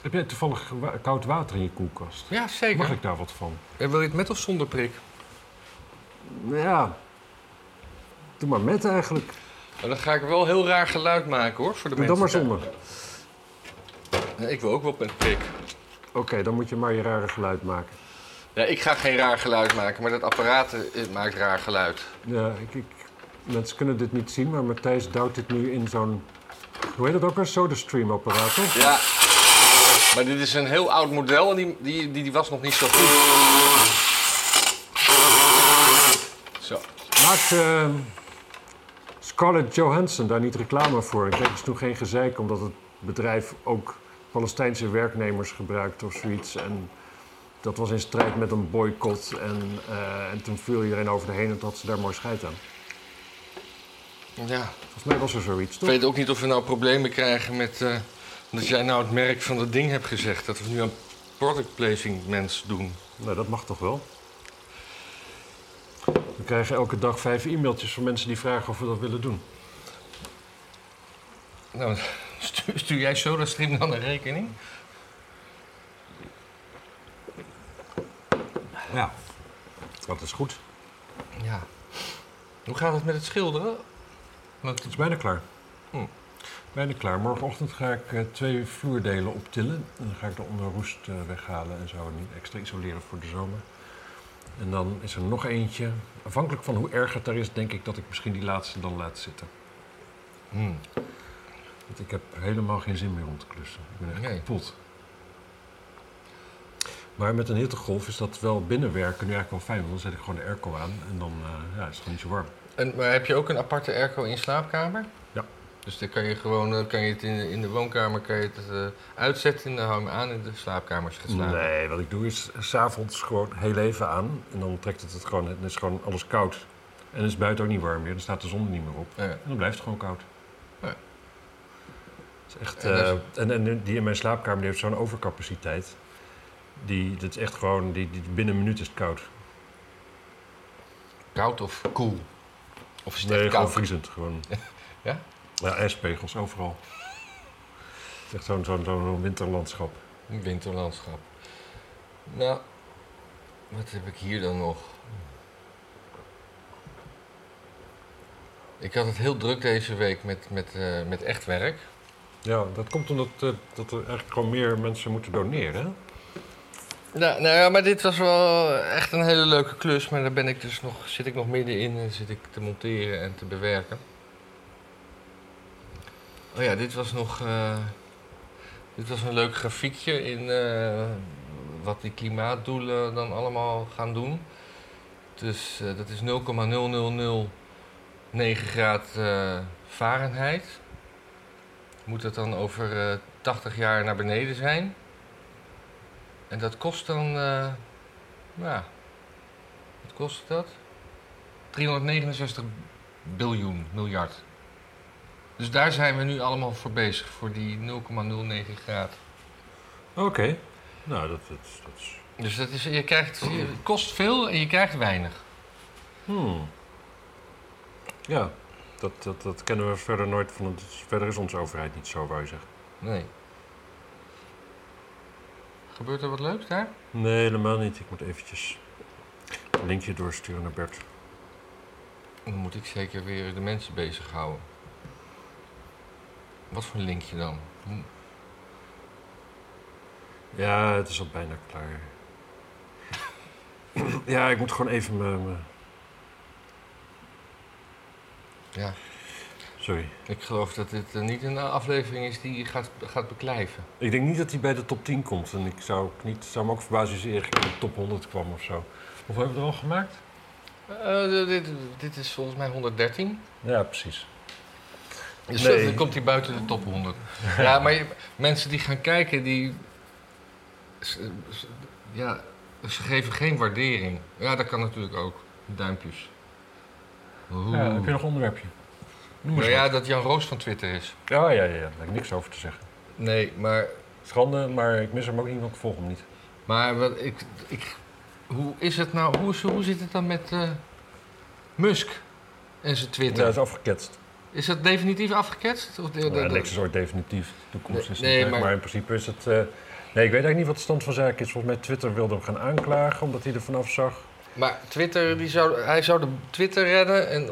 B: Heb jij toevallig wa- koud water in je koelkast?
A: ja zeker.
B: Mag ik daar wat van?
A: En wil je het met of zonder prik?
B: Ja, doe maar met eigenlijk.
A: Maar Oh, dan ga ik wel heel raar geluid maken hoor, voor de
B: Doe dan
A: mensen.
B: maar zonder.
A: thuis. Nee, ik wil ook wel met prik.
B: Oké, dan moet je maar je rare geluid maken.
A: Ja, ik ga geen raar geluid maken, maar dat apparaat eh, het maakt raar geluid.
B: Ja, ik, ik, mensen kunnen dit niet zien, maar Matthijs duwt dit nu in zo'n... Hoe heet dat ook? Een SodaStream-apparaat, toch?
A: Ja. Maar dit is een heel oud model en die, die, die, die was nog niet zo goed. Zo.
B: Maakt eh, Scarlett Johansson daar niet reclame voor? Ik kreeg dus toen geen gezeik, omdat het bedrijf ook Palestijnse werknemers gebruikt of zoiets. En dat was in strijd met een boycott. En, eh, en toen viel iedereen over de heen en toen had ze daar mooi scheid aan.
A: Ja.
B: Volgens mij was er zoiets,
A: Ik
B: toch?
A: weet ook niet of we nou problemen krijgen met... eh dat jij nou het merk van dat ding hebt gezegd. Dat we nu een product placing mens doen.
B: Nou, dat mag toch wel? krijgen elke dag vijf e-mailtjes van mensen die vragen of we dat willen doen.
A: Nou, [LAUGHS] stu- stuur jij SodaStream dan een rekening?
B: Ja, dat is goed.
A: Ja. Hoe gaat het met het schilderen? Want
B: Het is bijna klaar.
A: Hm.
B: Bijna klaar. Morgenochtend ga ik eh, twee vloerdelen optillen. En dan ga ik de onderroest eh, weghalen en zo. En die extra isoleren voor de zomer. En dan is er nog eentje. Afhankelijk van hoe erg het daar is, denk ik dat ik misschien die laatste dan laat zitten.
A: Hm.
B: Want ik heb helemaal geen zin meer om te klussen. Ik ben echt
A: Nee.
B: kapot. Maar met een hittegolf is dat wel binnenwerken nu eigenlijk wel fijn. Want dan zet ik gewoon de airco aan en dan eh, ja, is het gewoon niet zo warm.
A: En, maar heb je ook een aparte airco in je slaapkamer?
B: Ja.
A: Dus dan kan je gewoon eh, kan je het in, de- in de woonkamer kan je het, eh, uitzetten en dan hou je hem aan in de slaapkamers gaat slapen.
B: Nee, wat ik doe is eh, s'avonds gewoon heel even aan. En dan trekt het het gewoon, het is gewoon alles koud. En is buiten ook niet warm meer, dan staat de zon er niet meer op.
A: Ja.
B: En dan blijft het gewoon koud.
A: Ja.
B: Het is echt,
A: En dat is-
B: eh, en, en die in mijn slaapkamer die heeft zo'n overcapaciteit. Die, dat is echt gewoon, die, die, binnen een minuut is het koud.
A: Koud of koel? Of is het
B: Nee,
A: echt
B: gewoon
A: koud?
B: vriezend. Gewoon.
A: Ja?
B: [LAUGHS] Ja, ijspegels overal. Het is echt zo'n zo'n zo'n winterlandschap.
A: Een winterlandschap. Nou, wat heb ik hier dan nog? Ik had het heel druk deze week met, met, eh, met echt werk.
B: Ja, dat komt omdat eh, dat er eigenlijk gewoon meer mensen moeten doneren. hè?
A: Nou, nou ja, maar dit was wel echt een hele leuke klus. Maar daar ben ik dus nog, zit ik nog middenin en zit ik te monteren en te bewerken. Oh ja, dit was nog. eh, dit was een leuk grafiekje in eh, wat die klimaatdoelen dan allemaal gaan doen. Dus eh, dat is 0,0009 graad eh, Fahrenheit. Moet dat dan over eh, 80 jaar naar beneden zijn? En dat kost dan, eh nou, wat kost dat? 369 biljoen, miljard. Dus daar zijn we nu allemaal voor bezig, voor die 0,09 graad.
B: Oké. Nou, dat, dat, dat is...
A: Dus dat is, je krijgt, het kost veel en je krijgt weinig.
B: Hmm. Ja, dat, dat, dat kennen we verder nooit van. Het, is- verder is onze overheid niet zo, wou je zeggen.
A: Nee. Gebeurt er wat leuks daar?
B: Nee, helemaal niet. Ik moet eventjes een linkje doorsturen naar Bert.
A: Dan moet ik zeker weer de mensen bezighouden. Wat voor linkje dan? Hm,
B: Ja, het is al bijna klaar. [CLEARS THROAT] ja, ik moet gewoon even mijn... mijn-
A: Ja,
B: Sorry.
A: ik geloof dat dit eh, niet een aflevering is die je gaat, gaat beklijven.
B: Ik denk niet dat hij bij de top 10 komt. En ik zou, ook niet, zou me ook verbazen als hij ergens in de top 100 kwam of zo. Of hebben we er al gemaakt?
A: Eh, d- dit, dit is volgens mij 113.
B: Ja, precies.
A: Dus
B: Nee.
A: dan komt hij buiten de top
B: [LAUGHS]
A: 100. ja, maar je- mensen die gaan kijken, die. ze- ze- ja, ze geven geen waardering. Ja, dat kan natuurlijk ook. Duimpjes. Oeh.
B: Ja, heb je nog een onderwerpje? Noem
A: Nou
B: eens
A: ja, dat Jan Roos van Twitter is.
B: wat. Ja, ja, ja, ja. Daar heb ik niks over te zeggen.
A: Nee, maar
B: Schande, maar ik mis hem ook niet, want ik volg hem niet.
A: Maar wat, ik, ik, hoe is het nou? Hoe, is- hoe zit het dan met eh, Musk en zijn
B: Ja,
A: Twitter?
B: hij is afgeketst.
A: Is dat definitief afgeketst? Of de- de-
B: Ja,
A: de-
B: niks is Eh, ooit definitief. De toekomst is
A: Nee,
B: niet,
A: nee,
B: maar...
A: maar-
B: maar in principe is het... eh, Nee, ik weet eigenlijk niet wat de stand van zaken is. Volgens mij Twitter wilde hem gaan aanklagen, omdat hij er vanaf zag.
A: Maar Twitter, die zou, hij zou de Twitter redden en...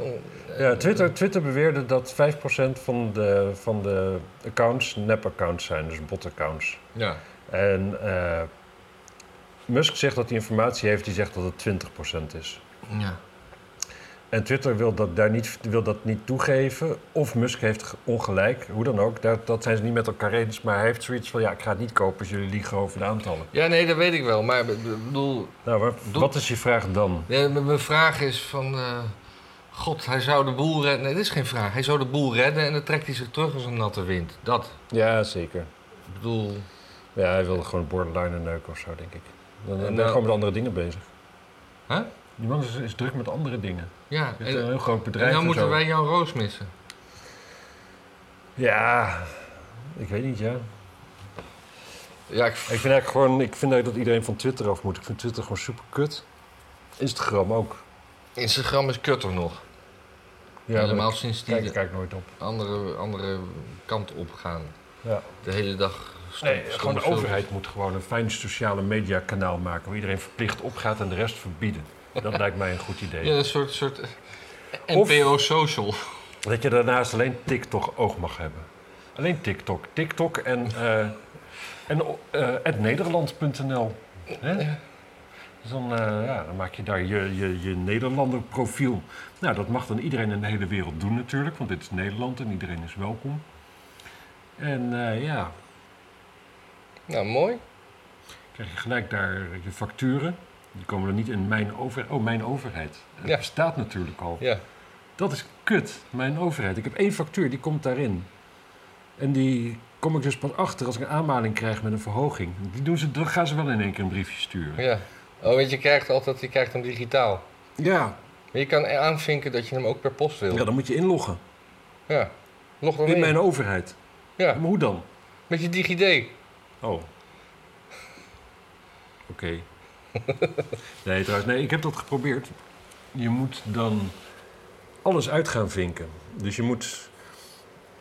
A: eh,
B: Ja, Twitter, Twitter beweerde dat 5% van de, van de accounts nep-accounts zijn, dus bot-accounts.
A: Ja.
B: En eh, Musk zegt dat hij informatie heeft die zegt dat het 20% is.
A: ja.
B: En Twitter wil dat, daar niet, wil dat niet toegeven. Of Musk heeft ge- ongelijk, hoe dan ook. Dat, dat zijn ze niet met elkaar eens. Maar hij heeft zoiets van, ja, ik ga het niet kopen als jullie liegen over de aantallen.
A: Ja, nee, dat weet ik wel. Maar ik bedoel,
B: Nou, maar
A: Doe-
B: wat is je vraag dan?
A: ja, m- mijn vraag is van... eh, God, hij zou de boel redden. Nee, dat is geen vraag. Hij zou de boel redden en dan trekt hij zich terug als een natte wind. Dat.
B: Ja, zeker.
A: Ik bedoel...
B: Ja, hij wilde gewoon borderline neuken of zo, denk ik. Dan, dan
A: Nou-
B: ben je gewoon met andere dingen bezig.
A: Hè?
B: Die man is, is druk met andere dingen.
A: Ja.
B: Hij heeft een
A: En,
B: heel groot bedrijf
A: en dan
B: eh, en
A: moeten
B: zo.
A: wij Jan Roos missen.
B: Ja, ik weet niet, ja.
A: Ja, ik
B: Ik vind eigenlijk gewoon, ik vind eigenlijk dat iedereen van Twitter af moet. Ik vind Twitter gewoon super kut. Instagram ook.
A: Instagram is kutter nog.
B: Ja,
A: Helemaal sinds die
B: Kijk, ik
A: de
B: kijk nooit op.
A: andere, andere kant op gaan.
B: Ja.
A: De hele dag stond-
B: Nee, gewoon
A: stonden
B: de
A: filmpjes.
B: overheid moet gewoon een fijn sociale media kanaal maken waar iedereen verplicht op gaat en de rest verbieden.
A: [LAUGHS]
B: Dat lijkt mij een goed idee.
A: Ja, een soort, soort eh,
B: Of-
A: NPO social.
B: Dat je daarnaast alleen TikTok oog mag hebben. Alleen TikTok. TikTok en, eh en eh, at nederland.nl. Hè? Dus dan, eh, ja, dan maak je daar je, je, je Nederlander profiel. Nou, dat mag dan iedereen in de hele wereld doen natuurlijk, want dit is Nederland en iedereen is welkom. En eh, ja,
A: Nou, mooi.
B: krijg je gelijk daar je facturen. Die komen er niet in mijn overheid. Oh, mijn overheid. Dat
A: Ja.
B: bestaat natuurlijk al.
A: Ja.
B: Dat is kut, mijn overheid. Ik heb één factuur, die komt daarin. En die kom ik dus pas achter als ik een aanmaling krijg met een verhoging. Die doen ze, dan gaan ze wel in één keer een briefje sturen.
A: ja. Oh, weet je, je krijgt altijd, je krijgt hem digitaal.
B: Ja,
A: Maar je kan aanvinken dat je hem ook per post wil.
B: ja
A: Ja.
B: dan moet je inloggen.
A: Log dan
B: In
A: in.
B: mijn overheid.
A: Ja,
B: Maar hoe dan?
A: met je DigiD.
B: Oh. Oké. [LAUGHS] nee, trouwens, nee, ik heb dat geprobeerd. Je moet dan alles uit gaan vinken. Dus je moet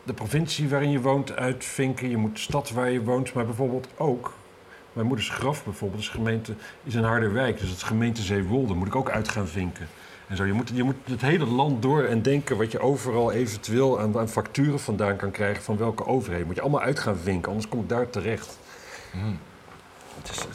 B: de provincie waarin je woont uitvinken. Je moet de stad waar je woont, maar bijvoorbeeld ook. Mijn moeders graf bijvoorbeeld is, gemeente, is in Harderwijk. Dus het gemeente Zeewolde moet ik ook uit gaan vinken. En zo, je moet, je moet het hele land door en denken wat je overal eventueel aan, aan facturen vandaan kan krijgen van welke overheid. Moet je allemaal uit gaan vinken, anders kom ik daar terecht. Het is, eh,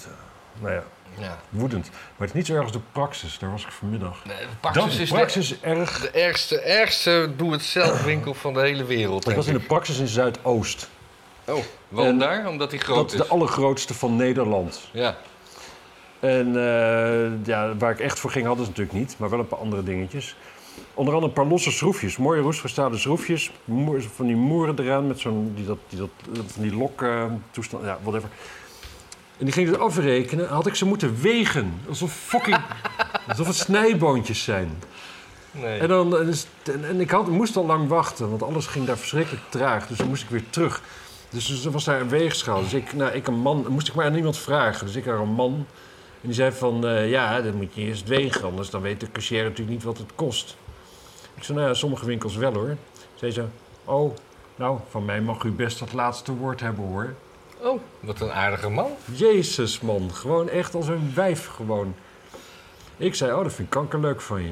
B: nou ja,
A: Ja.
B: woedend. Maar het is niet zo erg als de praxis, daar was ik vanmiddag.
A: Nee,
B: dat,
A: Praxis is de,
B: praxis is erg.
A: de ergste, ergste doe-het-zelf winkel van de hele wereld.
B: Ik was in
A: denk
B: de praxis in Zuidoost.
A: ik. Oh, waarom
B: En-
A: daar? Omdat hij groot
B: Dat is
A: is.
B: de allergrootste van Nederland.
A: Ja.
B: En eh, ja, waar ik echt voor ging hadden ze natuurlijk niet, maar wel een paar andere dingetjes. Onder andere een paar losse schroefjes, mooie roestgestalen schroefjes, moer- van die moeren eraan met zo'n die dat, die dat, van die lok eh, toestand, ja, whatever. En die ging het afrekenen, had ik ze moeten wegen, alsof fucking, [LAUGHS] alsof het snijboontjes zijn.
A: Nee.
B: En, dan, en, is- en- en ik had, moest al lang wachten, want alles ging daar verschrikkelijk traag. Dus dan moest ik weer terug. Dus, dus er was daar een weegschaal. Dus ik, nou, ik een man, moest ik maar aan iemand vragen. Dus ik naar een man. En die zei van, eh, ja, dan moet je eerst wegen. Anders dan weet de cashier natuurlijk niet wat het kost. Ik zei, nou ja, sommige winkels wel hoor. Zei ze, oh, nou, van mij mag u best dat laatste woord hebben hoor.
A: Oh, wat een aardige man.
B: Jezus man, gewoon echt als een wijf gewoon. Ik zei, oh, dat vind ik kankerleuk van je.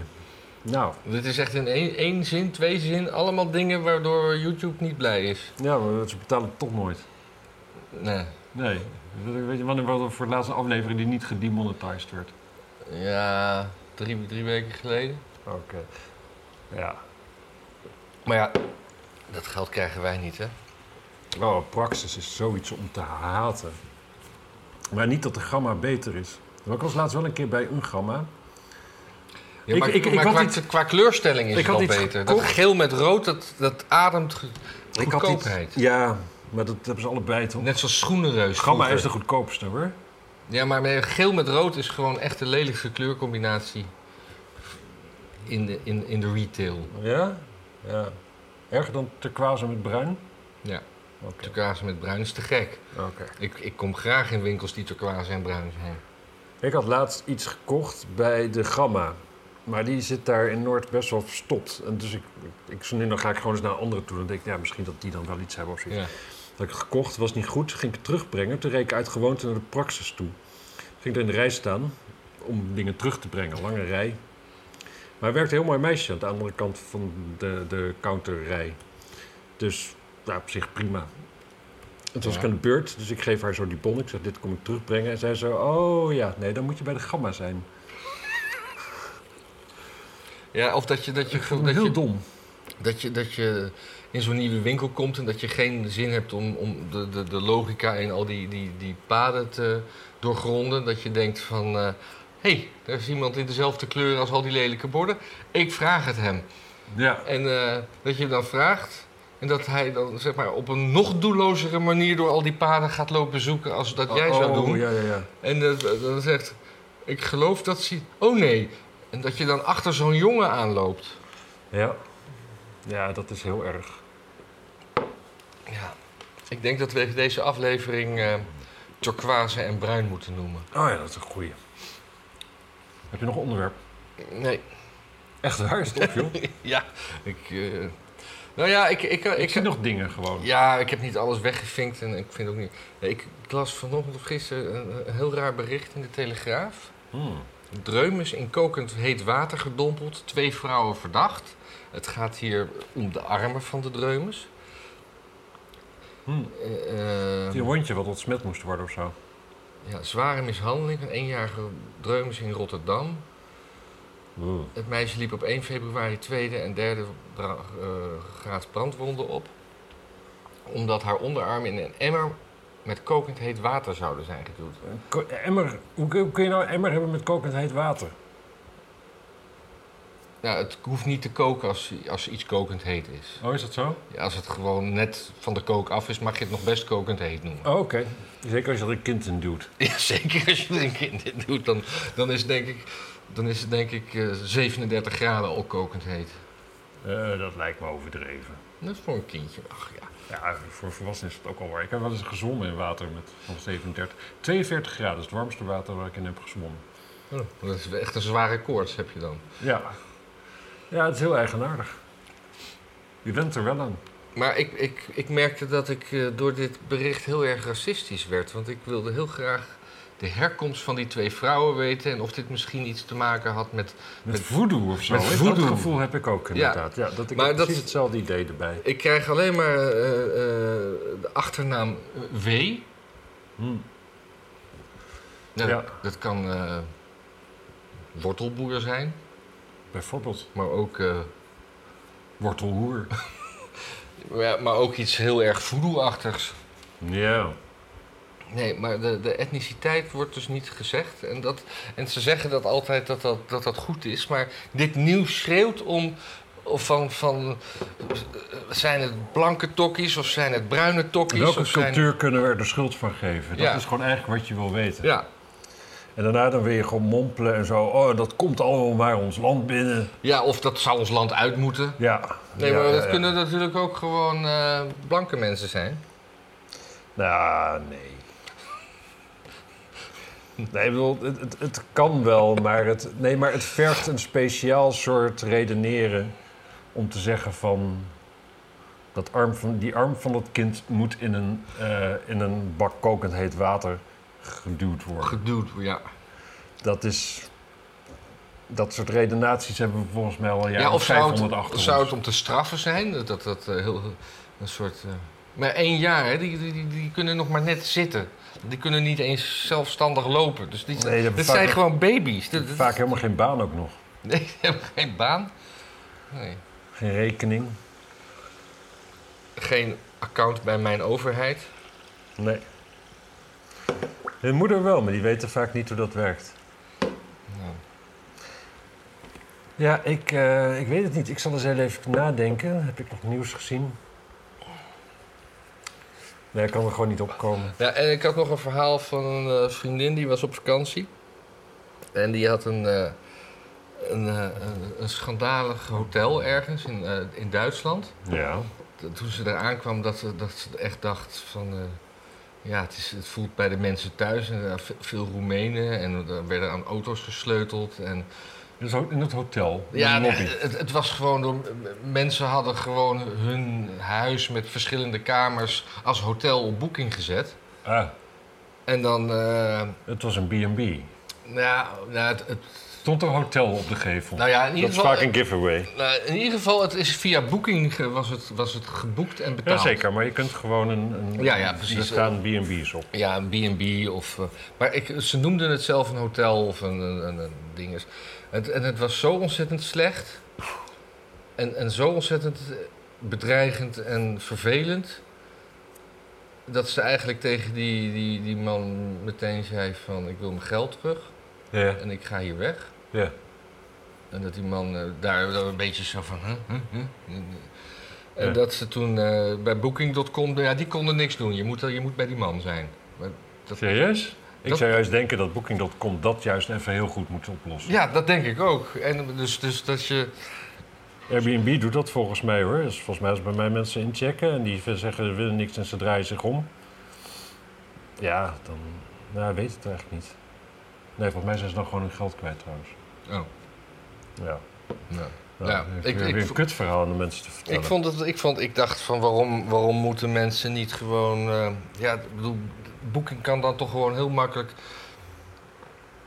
B: Nou,
A: Dit is echt in één, één zin, twee zin, allemaal dingen waardoor YouTube niet blij is.
B: ja, maar ze betalen het toch nooit.
A: Nee.
B: Nee. Weet je wanneer was dat voor de laatste aflevering die niet gedemonetized werd?
A: Ja, drie, drie weken geleden.
B: Oké. Ja.
A: Maar ja, dat geld krijgen wij niet, hè?
B: Oh, praxis is zoiets om te haten. Maar niet dat de gamma beter is. Maar Ik was laatst wel een keer bij een gamma.
A: Ja,
B: Ik-
A: maar
B: ik- ik
A: maar
B: had
A: qua,
B: iets-
A: qua kleurstelling is
B: ik
A: het
B: had
A: al
B: iets
A: beter. Dat
B: gekocht.
A: geel met rood, dat, dat ademt ge- goedkoopheid.
B: Ja, maar dat hebben ze allebei toch?
A: Net zoals schoenenreus.
B: gamma
A: vroeger.
B: is de goedkoopste hoor.
A: Ja, maar nee, geel met rood is gewoon echt de lelijkste kleurcombinatie in de, in, in de retail.
B: Ja? Ja. Erger dan turquoise met bruin?
A: Ja,
B: Oké.
A: turquoise met bruin is te gek. Ik, ik kom graag in winkels die turquoise en bruin zijn.
B: Ik had laatst iets gekocht bij de Gamma. Maar die zit daar in Noord best wel verstopt. En dus ik, ik, zo nu en dan ga ik gewoon eens naar anderen toe. Dan denk ik, ja, misschien dat die dan wel iets hebben of zoiets.
A: Ja.
B: Dat ik het gekocht, was niet goed. Ging ik het terugbrengen. Toen reed ik uit gewoonte naar de praxis toe. Ging er in de rij staan om dingen terug te brengen. Lange rij. Maar er werkte een heel mooi meisje aan de andere kant van de, de counterrij. Dus ja, op zich prima. En toen was
A: Ja.
B: ik aan de beurt, dus ik geef haar zo die bon. Ik zeg, dit kom ik terugbrengen. En zij zo, oh ja, nee, dan moet je bij de gamma zijn.
A: Ja, of dat je, dat, je, ge- dat,
B: Heel
A: je,
B: dom.
A: dat, je, dat je in zo'n nieuwe winkel komt en dat je geen zin hebt om, om de, de, de logica en al die, die, die paden te doorgronden. Dat je denkt van, hé, hey, er is iemand in dezelfde kleur als al die lelijke borden. Ik vraag het hem.
B: Ja.
A: En eh, dat je hem dan vraagt. En dat hij dan zeg maar, op een nog doellozere manier door al die paden gaat lopen zoeken als dat jij zou doen.
B: Oh, Ja, ja, ja.
A: En eh, dan zegt, ik geloof dat ze... Oh nee. En dat je dan achter zo'n jongen aanloopt.
B: Ja. ja, dat is heel erg.
A: Ja. Ik denk dat we deze aflevering eh, turquoise en bruin moeten noemen.
B: Oh ja, dat is een goeie. Heb je nog een onderwerp?
A: Nee.
B: Echt waar, stop joh. [LAUGHS] Ik,
A: ja, ik. eh, nou ja, ik. ik, ik,
B: zie nog dingen gewoon.
A: Ja, ik heb niet alles weggevinkt en ik vind ook niet. Nee, ik, ik las vanochtend of gisteren een, een heel raar bericht in de Telegraaf.
B: Hmm.
A: Dreum is in kokend heet water gedompeld, twee vrouwen verdacht. Het gaat hier om de armen van de dreumes.
B: Hmm.
A: Eh, eh,
B: Die hondje wat ontsmet moest worden of zo.
A: ja, zware mishandeling, een eenjarige dreumes in Rotterdam.
B: Hmm.
A: Het meisje liep op 1 februari tweede en derde bra- eh, graad brandwonden op. Omdat haar onderarmen in een emmer met kokend heet water zouden zijn geduwd.
B: Een ko- Emmer, hoe kun hoe kun je nou een emmer hebben met kokend heet water?
A: Nou, het hoeft niet te koken als, als iets kokend heet is.
B: Oh, is dat zo?
A: Ja, als het gewoon net van de kook af is, mag je het nog best kokend heet noemen. [LAUGHS]
B: Oh, oké. Zeker als je er een kind in duwt.
A: Ja, zeker als je er een kind in doet, dan, dan is het denk ik, dan is het denk ik eh, 37 graden al kokend heet.
B: Eh, dat lijkt me overdreven.
A: Net voor een kindje. Ach ja.
B: Ja, voor volwassenen is het ook al waar. Ik heb wel eens gezwommen in water met van 37. 42 graden is het warmste water waar ik in heb gezwommen.
A: Oh, Dat is echt een zware koorts heb je dan.
B: Ja. Ja, het is heel eigenaardig. Je bent er wel aan.
A: Maar ik, ik, ik merkte dat ik eh, door dit bericht heel erg racistisch werd. Want ik wilde heel graag de herkomst van die twee vrouwen weten. En of dit misschien iets te maken had met.
B: Met voodoo of zo.
A: Met
B: hè?
A: voodoo.
B: Dat gevoel heb ik ook inderdaad. Ja, dat ik
A: Maar
B: heb
A: dat-
B: precies hetzelfde idee erbij.
A: Ik krijg alleen maar eh, eh, de achternaam W.
B: Hm.
A: Nou,
B: Ja.
A: Dat kan eh, wortelboer zijn,
B: Bijvoorbeeld
A: maar ook, eh,
B: wortelhoer.
A: ja, maar ook iets heel erg voodoo-achtigs.
B: Ja.
A: Nee, maar de, de etniciteit wordt dus niet gezegd. En, dat, en ze zeggen dat altijd dat dat, dat dat goed is. Maar dit nieuws schreeuwt om of van, van... eh, Zijn het blanke tokkies of zijn het bruine tokkies?
B: Welke
A: of zijn-
B: cultuur kunnen we er de schuld van geven? Dat
A: Ja.
B: is gewoon eigenlijk wat je wil weten.
A: Ja,
B: En daarna dan wil je gewoon mompelen en zo. Oh, dat komt allemaal maar ons land binnen.
A: ja, of dat zou ons land uit moeten.
B: Ja.
A: Nee,
B: Ja,
A: maar
B: ja,
A: dat
B: ja.
A: kunnen natuurlijk ook gewoon eh, blanke mensen zijn.
B: Nou, nee. Nee, ik bedoel, het, het, het kan wel, maar het, nee, maar het vergt een speciaal soort redeneren om te zeggen van... Dat arm van, die arm van dat kind moet in een, eh, in een bak kokend heet water geduwd worden.
A: Geduwd, ja.
B: Dat is... Dat soort redenaties hebben we volgens mij al jaren
A: Ja, of zou
B: 500
A: het,
B: achter
A: zou
B: ons.
A: het om te straffen zijn? Dat dat, dat eh, heel, een soort... eh, maar één jaar, hè? Die, die, die, die kunnen nog maar net zitten. Die kunnen niet eens zelfstandig lopen. Dus die,
B: Nee, die hebben
A: dit
B: vaak
A: zijn
B: nog-
A: gewoon baby's. Dit- dit-
B: Vaak helemaal geen baan ook nog.
A: [LAUGHS] Nee, die hebben geen baan. Nee.
B: Geen rekening.
A: Geen account bij mijn overheid.
B: Nee. Hun moeder wel, maar die weten vaak niet hoe dat werkt.
A: Nou,
B: Ja, ik, eh, ik weet het niet. Ik zal eens heel even nadenken. Heb ik nog nieuws gezien? Nee, ik kan er gewoon niet opkomen.
A: Ja, en ik had nog een verhaal van een eh, vriendin die was op vakantie. En die had een, eh, een, eh, een, een schandalig hotel ergens in, eh, in Duitsland.
B: Ja.
A: T- toen ze daar aankwam, dat ze, dat ze echt dacht van... eh, ja, het, is, het voelt bij de mensen thuis. En, eh, ve- veel Roemenen en er werden aan auto's gesleuteld. En,
B: Dus ook in het hotel. in
A: ja,
B: de lobby.
A: het, het was gewoon... Door, mensen hadden gewoon hun huis met verschillende kamers als hotel op boeking gezet.
B: Ah,
A: En dan... eh,
B: het was een B&B.
A: nou, ja, nou, het, het-
B: Stond er hotel op de gevel.
A: nou ja, in
B: dat
A: ieder
B: is
A: geval...
B: vaak een giveaway.
A: nou, in ieder geval, het is via Booking ge- was het, was het geboekt en betaald.
B: Jazeker, maar je kunt gewoon een... een
A: Ja, ja, precies.
B: Er staan B&B's op.
A: Ja, een B&B of... eh, maar ik, ze noemden het zelf een hotel of een, een, een, een dinges. Het, en het was zo ontzettend slecht. En, en zo ontzettend eh, bedreigend en vervelend. Dat ze eigenlijk tegen die, die, die man meteen zei van... Ik wil mijn geld terug
B: Ja,
A: en ik ga hier weg.
B: ja.
A: En dat die man eh, daar wel een beetje zo van... Huh, huh, huh. En
B: Ja.
A: dat ze toen eh, bij Booking.com... Ja, die konden niks doen. Je moet, eh, je moet bij die man zijn.
B: Serieus? Ik
A: Dat-
B: zou juist denken dat Booking.com dat juist even heel goed moet oplossen.
A: Ja, dat denk ik ook. En dus, dus dat je.
B: Airbnb doet dat volgens mij hoor. Dus volgens mij als bij mij mensen inchecken en die zeggen ze willen niks en ze draaien zich om. Ja, dan nou, ik weet het eigenlijk niet. Nee, volgens mij zijn ze dan gewoon hun geld kwijt trouwens.
A: Oh.
B: Ja.
A: Ja.
B: Nou,
A: Ja,
B: dan heb
A: ik-
B: je weer
A: ik
B: een
A: vo-
B: kutverhaal aan de mensen te vertellen.
A: Ik, vond het, ik, vond, ik dacht van waarom, waarom moeten mensen niet gewoon. eh, ja, ik bedoel, Booking kan dan toch gewoon heel makkelijk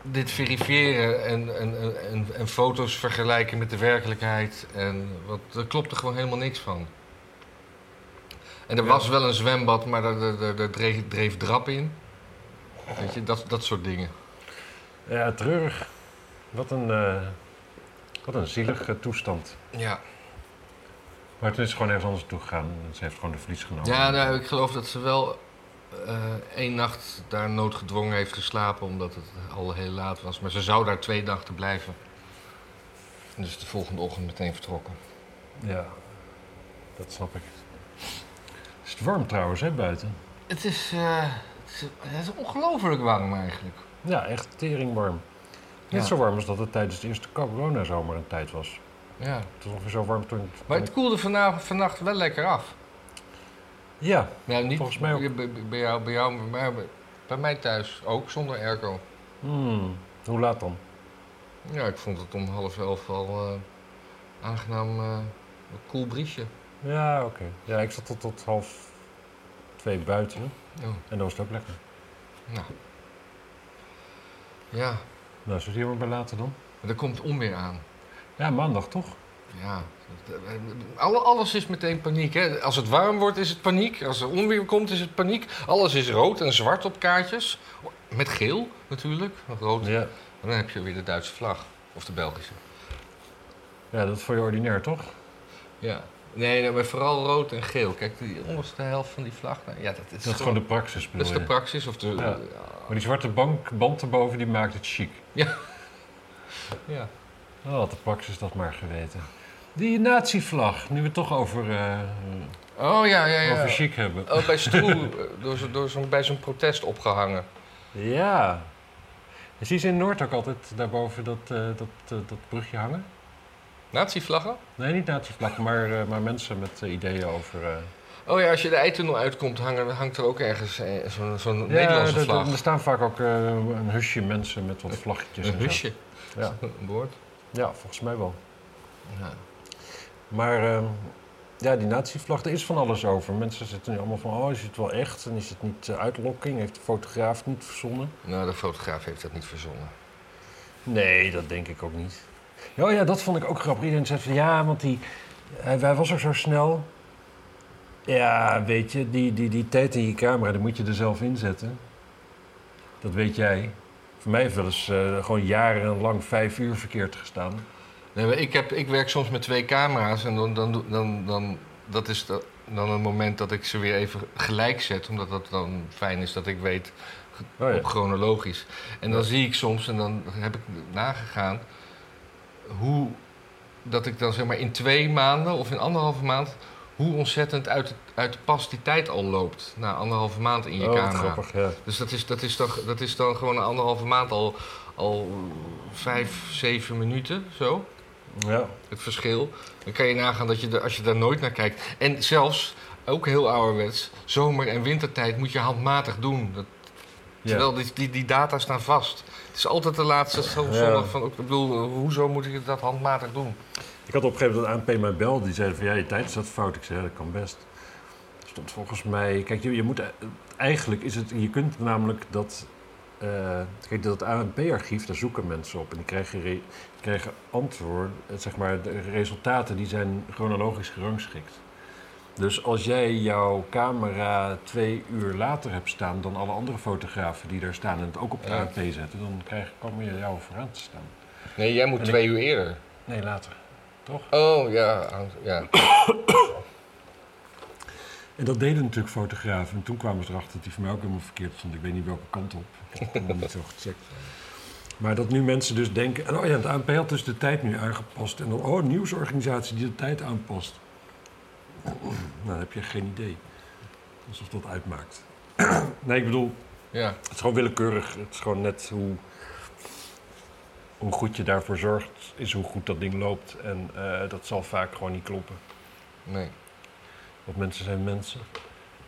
A: dit verifiëren en, en, en, en, en foto's vergelijken met de werkelijkheid. En wat, er klopte gewoon helemaal niks van. En er
B: Ja.
A: was wel een zwembad, maar daar, daar, daar- daar dreef, dreef drap in. Weet je, dat, dat soort dingen.
B: Ja, treurig. Wat een, eh, wat een zielige toestand.
A: Ja,
B: Maar toen is ze gewoon ergens anders toe gegaan. en Ze heeft gewoon de verlies genomen.
A: ja nou, ik geloof dat ze wel eh, één nacht daar noodgedwongen heeft geslapen, omdat het al heel laat was. Maar ze zou daar twee nachten blijven. En dus de volgende ochtend meteen vertrokken.
B: Ja, dat snap ik. Is het warm trouwens, hè, buiten?
A: Het is, eh, het is, het is ongelooflijk warm eigenlijk.
B: Ja, echt teringwarm. Net
A: Ja.
B: zo warm als dat het tijdens de eerste corona-zomer een tijd was.
A: Ja.
B: Het was ongeveer zo warm toen... toen
A: Maar
B: ik-
A: het koelde vanavond, vannacht wel lekker af.
B: Ja,
A: Nou, niet
B: Volgens mij ook.
A: bij- bij, bij jou, bij jou, maar bij- bij mij thuis ook, zonder airco.
B: Hmm, hoe laat dan?
A: Ja, ik vond het om half elf al eh, aangenaam eh, een koel briesje.
B: Ja, oké. Ja, ik zat tot, tot half twee buiten.
A: Oh,
B: En dat was het ook lekker.
A: nou. Ja,
B: Nou, zullen we hier maar bij laten dan?
A: Maar Er komt onweer aan.
B: Ja, maandag toch?
A: Ja. eh, Alle- Alles is meteen paniek. Hè? Als het warm wordt, is het paniek. Als er onweer komt, is het paniek. Alles is rood en zwart op kaartjes. Met geel natuurlijk. want Rood.
B: Ja.
A: En dan heb je weer de Duitse vlag. Of de Belgische.
B: Ja, dat is voor je ordinair toch?
A: Ja. Nee, nee, maar vooral rood en geel. Kijk, die onderste helft van die vlag. nou, ja, dat is,
B: Dat is gewoon de praxis
A: dat
B: bedoel
A: is de
B: je?
A: praxis. Of de,
B: Ja. Maar die zwarte bank, band erboven, die maakt het chic.
A: ja.
B: Oh, had de praxis dat maar geweten. Die nazi-vlag, nu we het toch over, eh,
A: Oh ja, ja, ja.
B: over chic hebben.
A: Oh, bij Stroe, eh, door, zo- door zo'n- bij zo'n protest opgehangen.
B: Ja. Zie ze in Noord ook altijd daarboven dat, eh, dat, eh, dat brugje hangen?
A: Nazi-vlaggen?
B: Nee, niet nazi-vlag, [LAUGHS] maar, eh, maar mensen met eh, ideeën over... eh,
A: Oh ja, als je de eitunnel uitkomt, hangen, hangt er ook ergens eh, zo'n zo'n
B: Ja,
A: Nederlandse
B: er-
A: vlag.
B: Er, er staan vaak ook eh, een husje mensen met wat vlaggetjes.
A: een
B: en zo.
A: husje.
B: Ja.
A: Een woord.
B: ja, volgens mij wel.
A: Ja.
B: Maar ehm, ja, die natievlag, er is van alles over. Mensen zitten nu allemaal van, oh, is het wel echt? En is het niet eh, uitlokking? Heeft de fotograaf het niet verzonnen?
A: Nou, de fotograaf heeft dat niet verzonnen.
B: Nee, dat denk ik ook niet. Ja, Oh ja, dat vond ik ook grappig. Iedereen zei van, ja, want die, hij, hij was er zo snel. Ja, weet je, die, die, die tijd in je camera, die moet je er zelf inzetten. Dat weet jij. Voor mij heeft wel eens eh, gewoon jarenlang vijf uur verkeerd gestaan.
A: Nee, maar ik, heb, ik werk soms met twee camera's en dan, dan, doe- dan, dan, dat is da- dan een moment dat ik ze weer even gelijk zet. Omdat dat dan fijn is dat ik weet
B: Oh
A: op chronologisch. En dan
B: Ja.
A: zie ik soms, en dan heb ik nagegaan, hoe dat ik dan zeg maar in twee maanden of in anderhalve maand, hoe ontzettend uit, de- uit de pas die tijd al loopt. Na anderhalve maand in je
B: oh, wat
A: camera.
B: grappig, ja.
A: Dus dat is, dat, is dan, dat is dan gewoon een anderhalve maand al, al vijf, zeven minuten zo.
B: ja.
A: Het verschil. Dan kan je nagaan dat je er, als je daar nooit naar kijkt. En zelfs, ook heel ouderwets, zomer- en wintertijd moet je handmatig doen. Dat,
B: Ja.
A: Terwijl die, die, die data staan vast. Het is altijd de laatste zo-
B: Ja.
A: zondag van... Ik bedoel, eh, hoezo moet ik dat handmatig doen?
B: Ik had op een gegeven moment een ANP mij bel, die zei van ja, je tijd staat fout. Ik zei ja, dat kan best. Er Stond volgens mij, kijk, je, je moet e- eigenlijk is het, je kunt namelijk dat, eh, kijk, dat ANP-archief, daar zoeken mensen op en die krijgen, re- die krijgen antwoord, eh, zeg maar, de resultaten die zijn chronologisch gerangschikt. Dus als jij jouw camera twee uur later hebt staan dan alle andere fotografen die daar staan en het ook op het
A: Ja.
B: ANP zetten, dan krijg, komen je jouw vooraan te staan.
A: Nee, jij moet
B: En ik-
A: twee uur eerder.
B: Nee, later. Toch?
A: Oh, ja. hangt- ja.
B: En dat deden natuurlijk fotografen. En toen kwamen ze erachter dat die voor mij ook helemaal verkeerd stond. Ik weet niet welke kant op. Ik heb het helemaal niet zo gecheckt. Maar dat nu mensen dus denken... Oh ja, het ANP had dus de tijd nu aangepast. En dan, oh, een nieuwsorganisatie die de tijd aanpast. [CLEARS THROAT] Nou, dan heb je geen idee. Alsof dat uitmaakt. [CLEARS THROAT] nee, ik bedoel,
A: ja.
B: het is gewoon willekeurig. Het is gewoon net hoe... Hoe goed je daarvoor zorgt, is hoe goed dat ding loopt. En eh, dat zal vaak gewoon niet kloppen.
A: Nee,
B: Want mensen zijn mensen.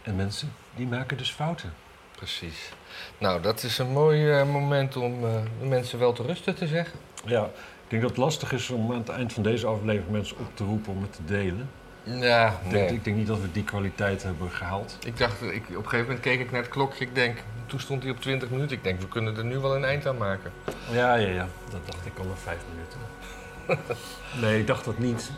B: En mensen, die maken dus fouten.
A: precies. Nou, dat is een mooi eh, moment om eh, de mensen wel te rusten te zeggen.
B: Ja, ik denk dat het lastig is om aan het eind van deze aflevering mensen op te roepen om het te delen.
A: Ja,
B: Ik denk,
A: nee.
B: ik denk niet dat we die kwaliteit hebben gehaald.
A: Ik dacht, ik, op een gegeven moment keek ik naar het klokje. Ik denk, toen stond hij op 20 minuten. Ik denk, we kunnen er nu wel een eind aan maken.
B: Ja, ja, ja. Dat dacht ik al na vijf minuten. [LAUGHS] nee, ik dacht dat niet.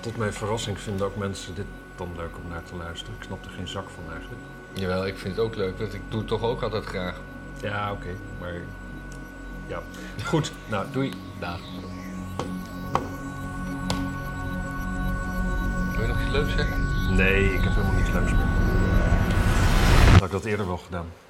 B: Tot mijn verrassing vinden ook mensen dit dan leuk om naar te luisteren. Ik snap er geen zak van eigenlijk.
A: Jawel, ik vind het ook leuk, want ik doe het toch ook altijd graag.
B: Ja, oké. Maar ja. Goed. Nou, doei. Dag.
A: Wil je nog iets leuks zeggen?
B: Nee, ik heb helemaal niks leuks meer. Had ik dat eerder wel gedaan.